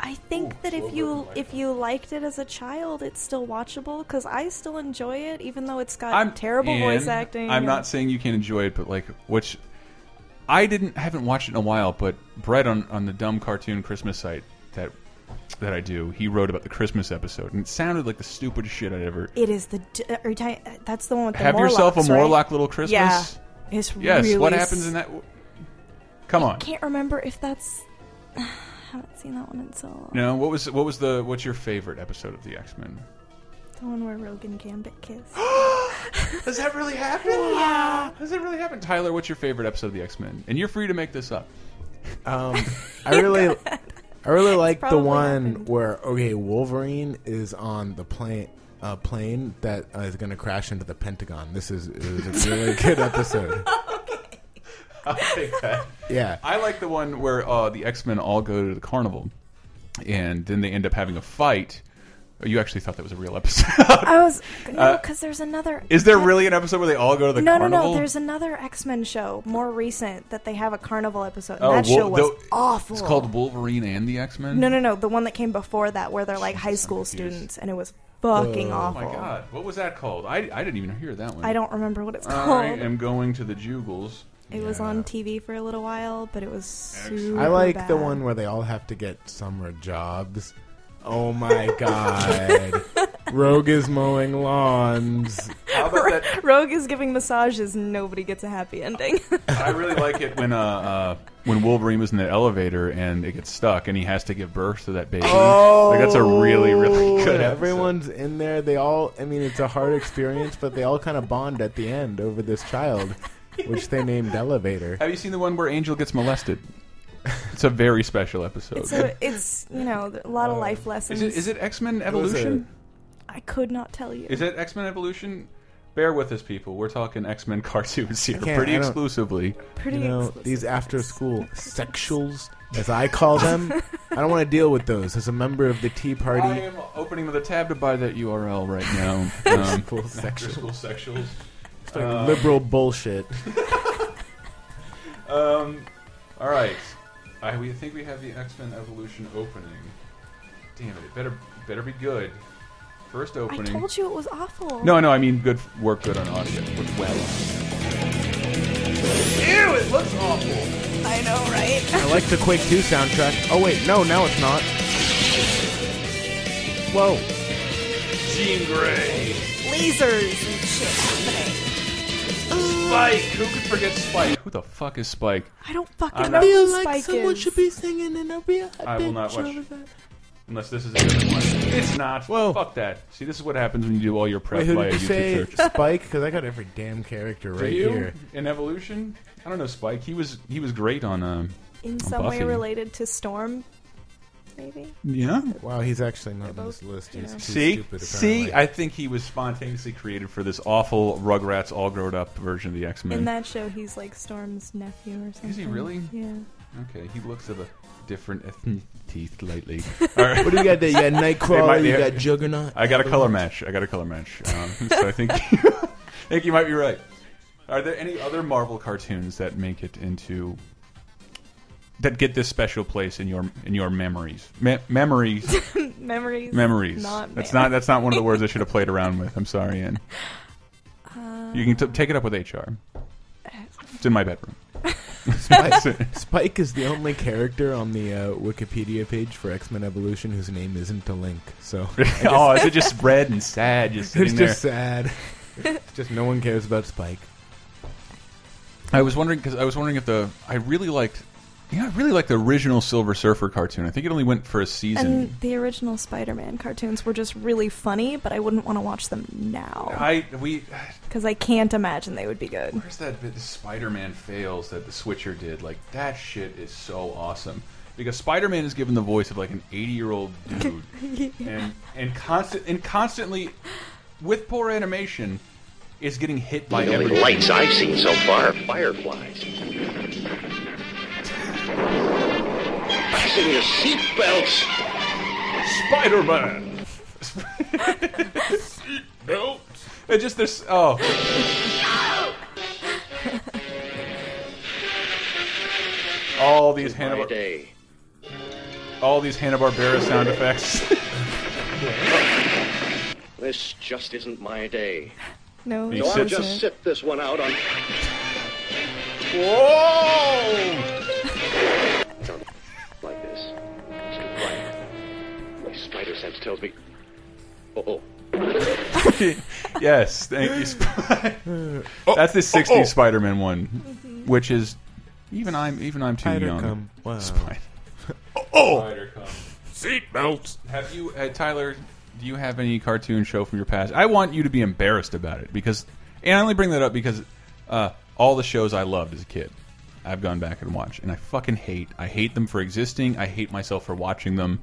I think that if you if you liked it as a child, it's still watchable because I still enjoy it, even though it's got terrible
and
voice acting.
I'm not saying you can't enjoy it, but like which I didn't haven't watched it in a while, but Brett on, on the dumb cartoon Christmas site that that I do, he wrote about the Christmas episode and it sounded like the stupidest shit I'd ever
It is the d- are you talking- that's the one with the
Have yourself a
Morlocks, right?
Morlock Little Christmas.
Yeah, it's
Yes.
Really
what happens in that? Come on.
Can't remember if that's. I haven't seen that one in so long.
No. What was what was the what's your favorite episode of the X Men?
The one where Rogan Gambit kissed.
Does that really happen? Yeah. Does it really happen, Tyler? What's your favorite episode of the X Men? And you're free to make this up.
Um, I really, I really like the
probably
one
happened.
where okay, Wolverine is on the plane, uh, plane that uh, is going to crash into the Pentagon. This is, is a really good episode.
I'll take that.
Yeah,
I like the one where uh, the X Men all go to the carnival, and then they end up having a fight. Oh, You actually thought that was a real episode.
I was no, because there's another.
Uh, Is there really an episode where they all go to the
No,
carnival?
no, no. There's another X Men show, more recent, that they have a carnival episode. And
Oh,
that
Wol-
show was
the-
awful.
It's called Wolverine and the X Men.
No, no, no. The one that came before that, where they're like high school
confused.
students, and it was fucking awful.
Oh my god, what was that called? I, I didn't even hear that one.
I don't remember what it's
I
called.
am going to the Jugles.
It was on TV for a little while, but it was super
I like the
bad.
one where they all have to get summer jobs. Oh my god, Rogue is mowing lawns.
How about that?
Rogue is giving massages, and nobody gets a happy ending.
I really like it when uh, uh when Wolverine was in the elevator and it gets stuck and he has to give birth to that baby. like that's a really really good.
And
episode.
Oh. Everyone's in there. They all. I mean, it's a hard experience, but they all kind of bond at the end over this child, which they named Elevator.
Have you seen the one where Angel gets molested? It's a very special episode.
so it's you know a lot of life lessons.
Oh. is it is it X Men
It was a-
Evolution?
I I could not tell you.
Is it X Men Evolution? Bear with us, people. We're talking X Men cartoons here,
can't-
pretty
I don't-
exclusively.
Pretty
you know, these after school sexuals, as I call them. I don't want to deal with those as a member of the Tea
I
Party.
am opening another tab to buy that URL right now. Um,
Cool
after
sexual.
school sexuals.
It's like liberal bullshit.
Um, all right. I we think we have the X Men Evolution opening. Damn it! It better better be good. First
I
opening.
told you it was awful.
No, no, I mean good work, good on audio, work well. Ew! It looks awful.
I know, right?
I like the Quake 2 soundtrack. Oh wait, no, now it's not. Whoa.
Jean Grey,
Lasers and shit happening.
Spike. Who could forget Spike? Who the fuck is Spike?
I don't fucking
I'm
know
not-
who Spike is.
be singing in a real
I will not watch. Unless this is a different one. It's not.
Whoa.
Fuck that. See, this is what happens when you do all your prep
Wait, who
via
did you
YouTube
say
search.
Spike? Because I got every damn character
Do
right
you?
here.
In Evolution? I don't know, Spike. He was he was great on um
In some way
Buffy.
related to Storm, maybe?
Yeah.
Wow, he's actually not on
both,
this list.
you
He's
know.
too
See?
stupid.
See?
apparently.
I think he was spontaneously created for this awful Rugrats all grown up version of the X
In
Men.
that show, he's like Storm's nephew or something.
really?
Yeah.
Okay, he looks of a different ethnicity slightly. all right.
What do you got there? You got
might
Nightcrawler,
be-
you got Juggernaut.
I got a color match. I got a color match. Um, so I think think you might be right. Are there any other Marvel cartoons that make it into that get this special place in your in your memories? Me memories,
Memories.
memories.
Not
that's
man.
not that's not one of the words I should have played around with. I'm sorry, Ann. you can t take it up with HR. It's in my bedroom.
Spike, Spike is the only character on the uh, Wikipedia page for X Men Evolution whose name isn't a link. So
oh, is it just red and sad? Just sitting
it's
there.
just sad. It's just no one cares about Spike.
I was wondering because I was wondering if the I really liked. Yeah, I really liked the original Silver Surfer cartoon. I think it only went for a season.
And the original Spider-Man cartoons were just really funny, but I wouldn't want to watch them now
I we
because I can't imagine they would be good.
where's that bit the Spider-Man fails that the Switcher did? Like that shit is so awesome because Spider-Man is given the voice of like an 80-year-old dude, and and constant and constantly with poor animation is getting hit by
The only
everything.
lights I've seen so far are fireflies. Fasten your seatbelts.
Spider-Man. Nope. It just there's oh. All these Hanna
day.
all these Hanna Barbera sound effects.
This just isn't my day.
No,
He
it's
said-
not.
Just sit this one out on.
Whoa!
like this. It's too bright. My spider sense tells me. Oh,
yes, thank you. Spy. That's the '60s Spider-Man one, which is even I'm even I'm too young.
Come. Wow.
Spider.
Oh,
Spider come.
seatbelts.
Have you, uh, Tyler? Do you have any cartoon show from your past? I want you to be embarrassed about it because, and I only bring that up because uh, all the shows I loved as a kid, I've gone back and watched, and I fucking hate. I hate them for existing. I hate myself for watching them.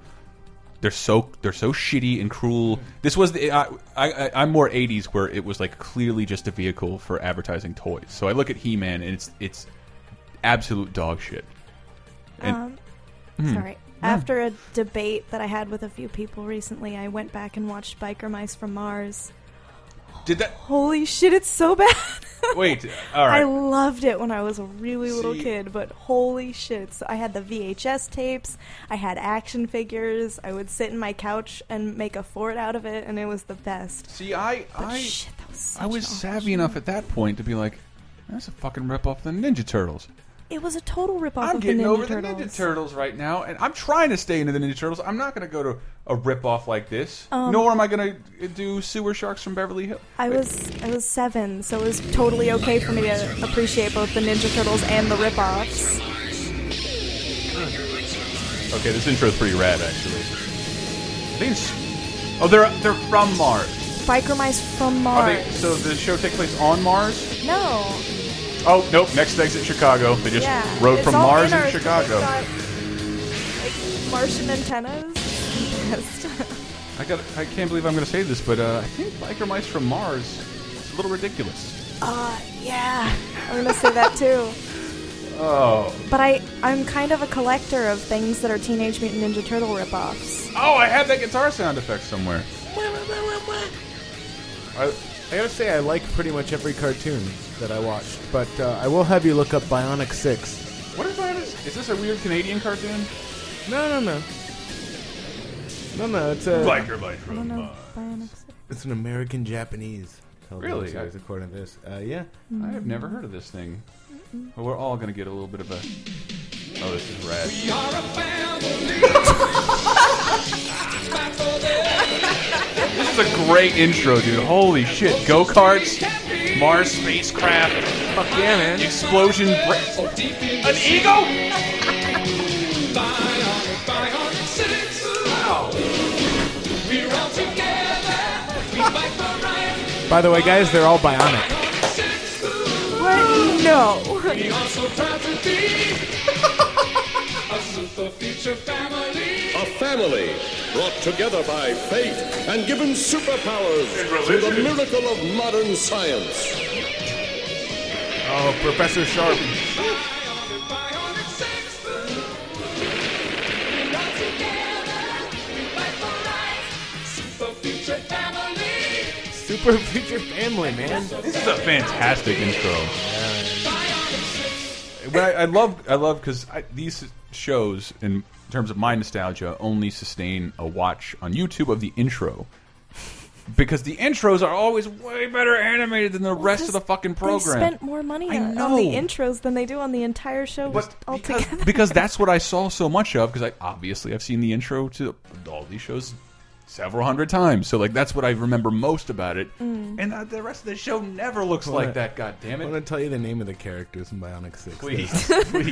They're so they're so shitty and cruel. This was the I, I I'm more '80s where it was like clearly just a vehicle for advertising toys. So I look at He-Man and it's it's absolute dog shit. And
Um, Sorry. After a debate that I had with a few people recently, I went back and watched Biker Mice from Mars.
did that?
Holy shit, it's so bad.
Wait, all right.
I loved it when I was a really little
See-
kid, but holy shit. it's- I had the VHS tapes, I had action figures, I would sit in my couch and make a fort out of it, and it was the best.
See, I
But
I
shit, that was such
I was
an
savvy enough at that point to be like, that's a fucking ripoff of the Ninja Turtles.
It was a total ripoff
I'm
of
getting
the Ninja
over
Turtles.
the Ninja Turtles right now, and I'm trying to stay into the Ninja Turtles. I'm not going to go to a ripoff like this,
Um,
nor am I going to do Sewer Sharks from Beverly Hills.
I was I was seven, so it was totally okay for me to appreciate both the Ninja Turtles and the ripoffs.
Okay, this intro's pretty rad, actually. These, oh, they're they're from Mars.
Biker Mice from
Are
Mars.
they? So the show takes place on Mars.
no,
Oh nope, next exit Chicago. They just
yeah,
rode
It's
from
all
Mars
in
to
Earth,
Chicago.
but it's got, like Martian antennas. Yes.
I got. I can't believe I'm going to say this, but uh, I think biker mice from Mars. It's a little ridiculous.
Uh, yeah. I'm gonna say that too.
Oh.
But I, I'm kind of a collector of things that are Teenage Mutant Ninja Turtle ripoffs.
Oh, I had that guitar sound effect somewhere.
I, I gotta say, I like pretty much every cartoon that I watched, but uh, I will have you look up Bionic Six.
What is that? Is this a weird Canadian cartoon?
No, no, no, no, no. It's a
Biker mice
I don't
from
know.
Mars.
Bionic Six.
It's an American Japanese. television
Really?
Series, according to this, uh, yeah.
I have never heard of this thing. Well, we're all going to get a little bit of a. Oh, this is rad. this is a great intro, dude. Holy shit. Go karts, Mars spacecraft. Fuck yeah, man. Explosion. Bra- An eagle?
By the way, guys, they're all bionic.
What? No.
A family brought together by fate and given superpowers through the miracle of modern science.
Oh, Professor Sharp. Super Future Family, man.
This is a fantastic intro. But I, I love, I love because these shows, in terms of my nostalgia, only sustain a watch on YouTube of the intro. Because the intros are always way better animated than the rest of the fucking program.
They spent more money
I
on, on
know.
the intros than they do on the entire show
But because,
altogether.
because that's what I saw so much of. Because I obviously I've seen the intro to all these shows several hundred times, so like that's what I remember most about it.
Mm.
And uh, the rest of the show never looks like that. God damn
I
it!
want to tell you the name of the characters in Bionic Six.
Please.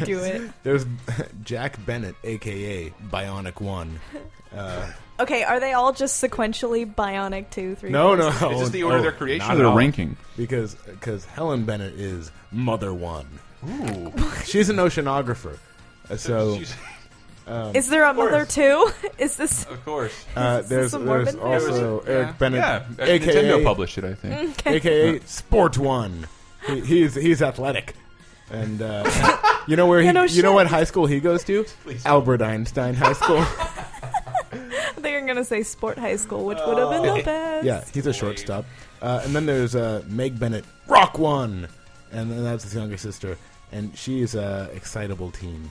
do it.
There's Jack Bennett, aka Bionic One.
Okay, are they all just sequentially Bionic two, three?
No, no.
Is this the order
oh,
of their creation
not
or
at
their
all.
ranking?
Because because Helen Bennett is Mother One. Ooh. She's an oceanographer. Uh, So
She's-
Is there a mother two? Is this
of course.
uh,
Is this
there's,
a Mormon
there's
thing?
also Eric
yeah.
Bennett,
Yeah, uh,
aka
Nintendo Mm. published it, I think.
aka Sport One. He, he's he's athletic, and uh, you know where he,
Yeah, no
you know
shit.
what high school he goes to? Albert Einstein High School.
they are gonna say sport high school, which would have
Oh.
been the best.
yeah, he's a shortstop. Uh, and then there's uh, Meg Bennett, Rock One, and then that's his younger sister, and she's a excitable teen,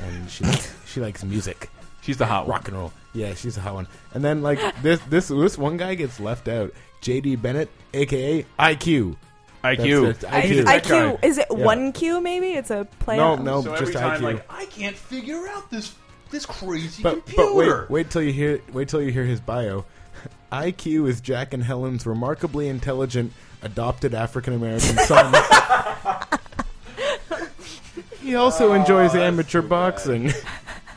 and she likes, she likes music,
She's the hot
rock
rock.
and roll. Yeah, she's a hot one. And then like this this this one guy gets left out. J.D. Bennett, aka IQ.
IQ.
That's- that's IQ.
That guy.
IQ is it
Yeah.
one Q maybe? It's a play.
No,
on-
no,
So every
just
time,
IQ.
like I can't figure out this this crazy
but but
computer.
wait wait till you hear wait till you hear his bio. IQ is Jack and Helen's remarkably intelligent adopted African American son. he also
Oh,
enjoys amateur boxing.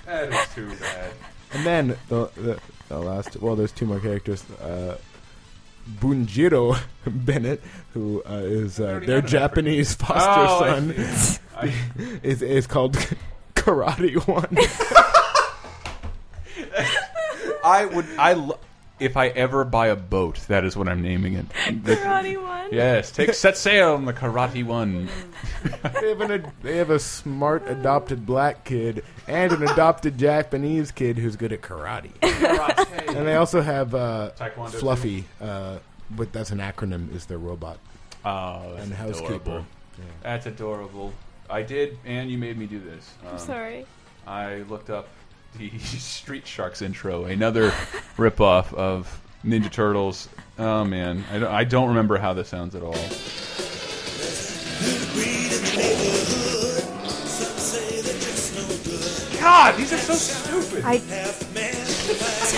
That is too bad.
and then the, the the last well, there's two more characters. Uh, Bunjiro Bennett, who uh, is uh,
already
their
had an African.
Japanese foster
Oh, I
son, is is called Karate One.
I would. I lo- if I ever buy a boat, that is what I'm naming it.
Karate one.
Yes, take set sail on the karate one.
they have an ad- they have a smart adopted black kid and an adopted Japanese kid who's good at karate. and they also have uh,
Taekwondo, too.
Fluffy, uh, but that's an acronym. Is their robot
Oh, that's
and housekeeper?
adorable. That's adorable. I did, and you made me do this. Um,
I'm sorry.
I looked up the Street Sharks intro, another ripoff of Ninja Turtles. Oh man, I don't, I don't remember how this sounds at all. God, these are so stupid.
I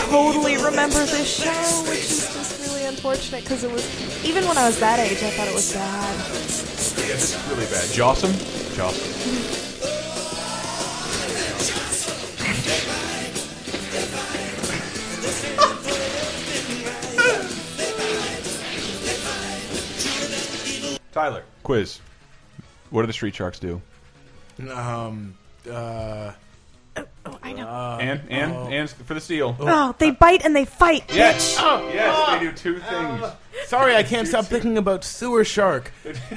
totally remember this show, which is just really unfortunate because it was even when I was that age, I thought it was bad.
Yeah, this is really bad. Jossum? Jossum. Tyler. Quiz. What do the street sharks do?
Um, uh,
Oh, I know.
and and and for the steal.
oh, they bite and they fight.
Yes, Uh,
bitch.
yes, they do two things.
Sorry, I can't stop thinking about sewer shark.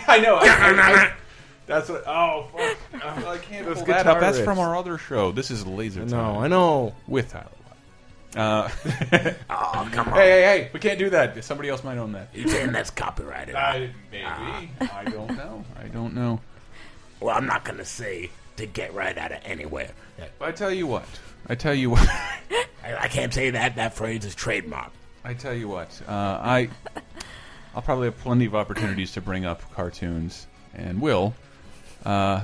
I know. I- I- I- that's what. Oh, fuck. I can't
Those
pull that
guitar
up. That's
riffs.
from our other show. This is Laser Time.
No, I know.
With Tyler. Uh, oh,
come on.
Hey, hey, hey. We can't do that. Somebody else might own that.
You're saying that's copyrighted.
Ah,
I, maybe. I don't know. I don't know.
Well, I'm not gonna say to get right out of anywhere.
But I tell you what. I tell you what.
I, I can't say that. That phrase is trademark.
I tell you what. Uh, I, I'll probably have plenty of opportunities to bring up cartoons, and will. Uh,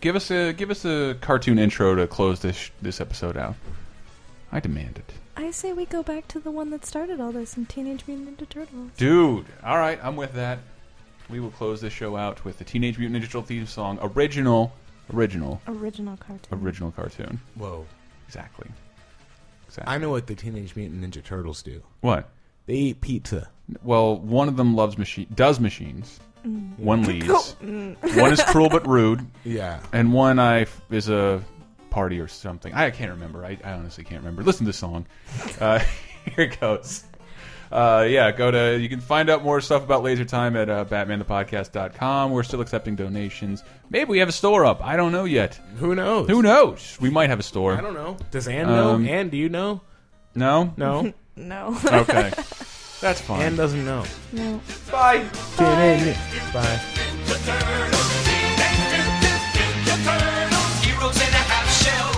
give us a give us a cartoon intro to close this this episode out. I demand it,
I say we go back to the one that started all this in Teenage Mutant Ninja Turtles.
dude. All right, I'm with that. We will close this show out with the Teenage Mutant Ninja Turtle theme song, original, original,
Original cartoon.
original cartoon.
Whoa.
Exactly.
I know what the Teenage Mutant Ninja Turtles do.
What?
They eat pizza.
Well, one of them loves machine, does machines.
Mm.
One leaves.
Mm.
one is cruel but rude.
Yeah.
And one I f- is a party or something. I can't remember. I, I honestly can't remember. Listen to the song. Uh, here it goes. Uh, yeah, go to. You can find out more stuff about Laser Time at uh, BatmanThePodcast.com. We're still accepting donations. Maybe we have a store up. I don't know yet.
Who knows?
Who knows? We might have a store.
I don't know. Does Ann know?
Um,
Ann, do you know?
No.
No.
no.
Okay. That's fine.
Ann doesn't know.
No.
Bye.
Bye. Bye.
Heroes in a half shell.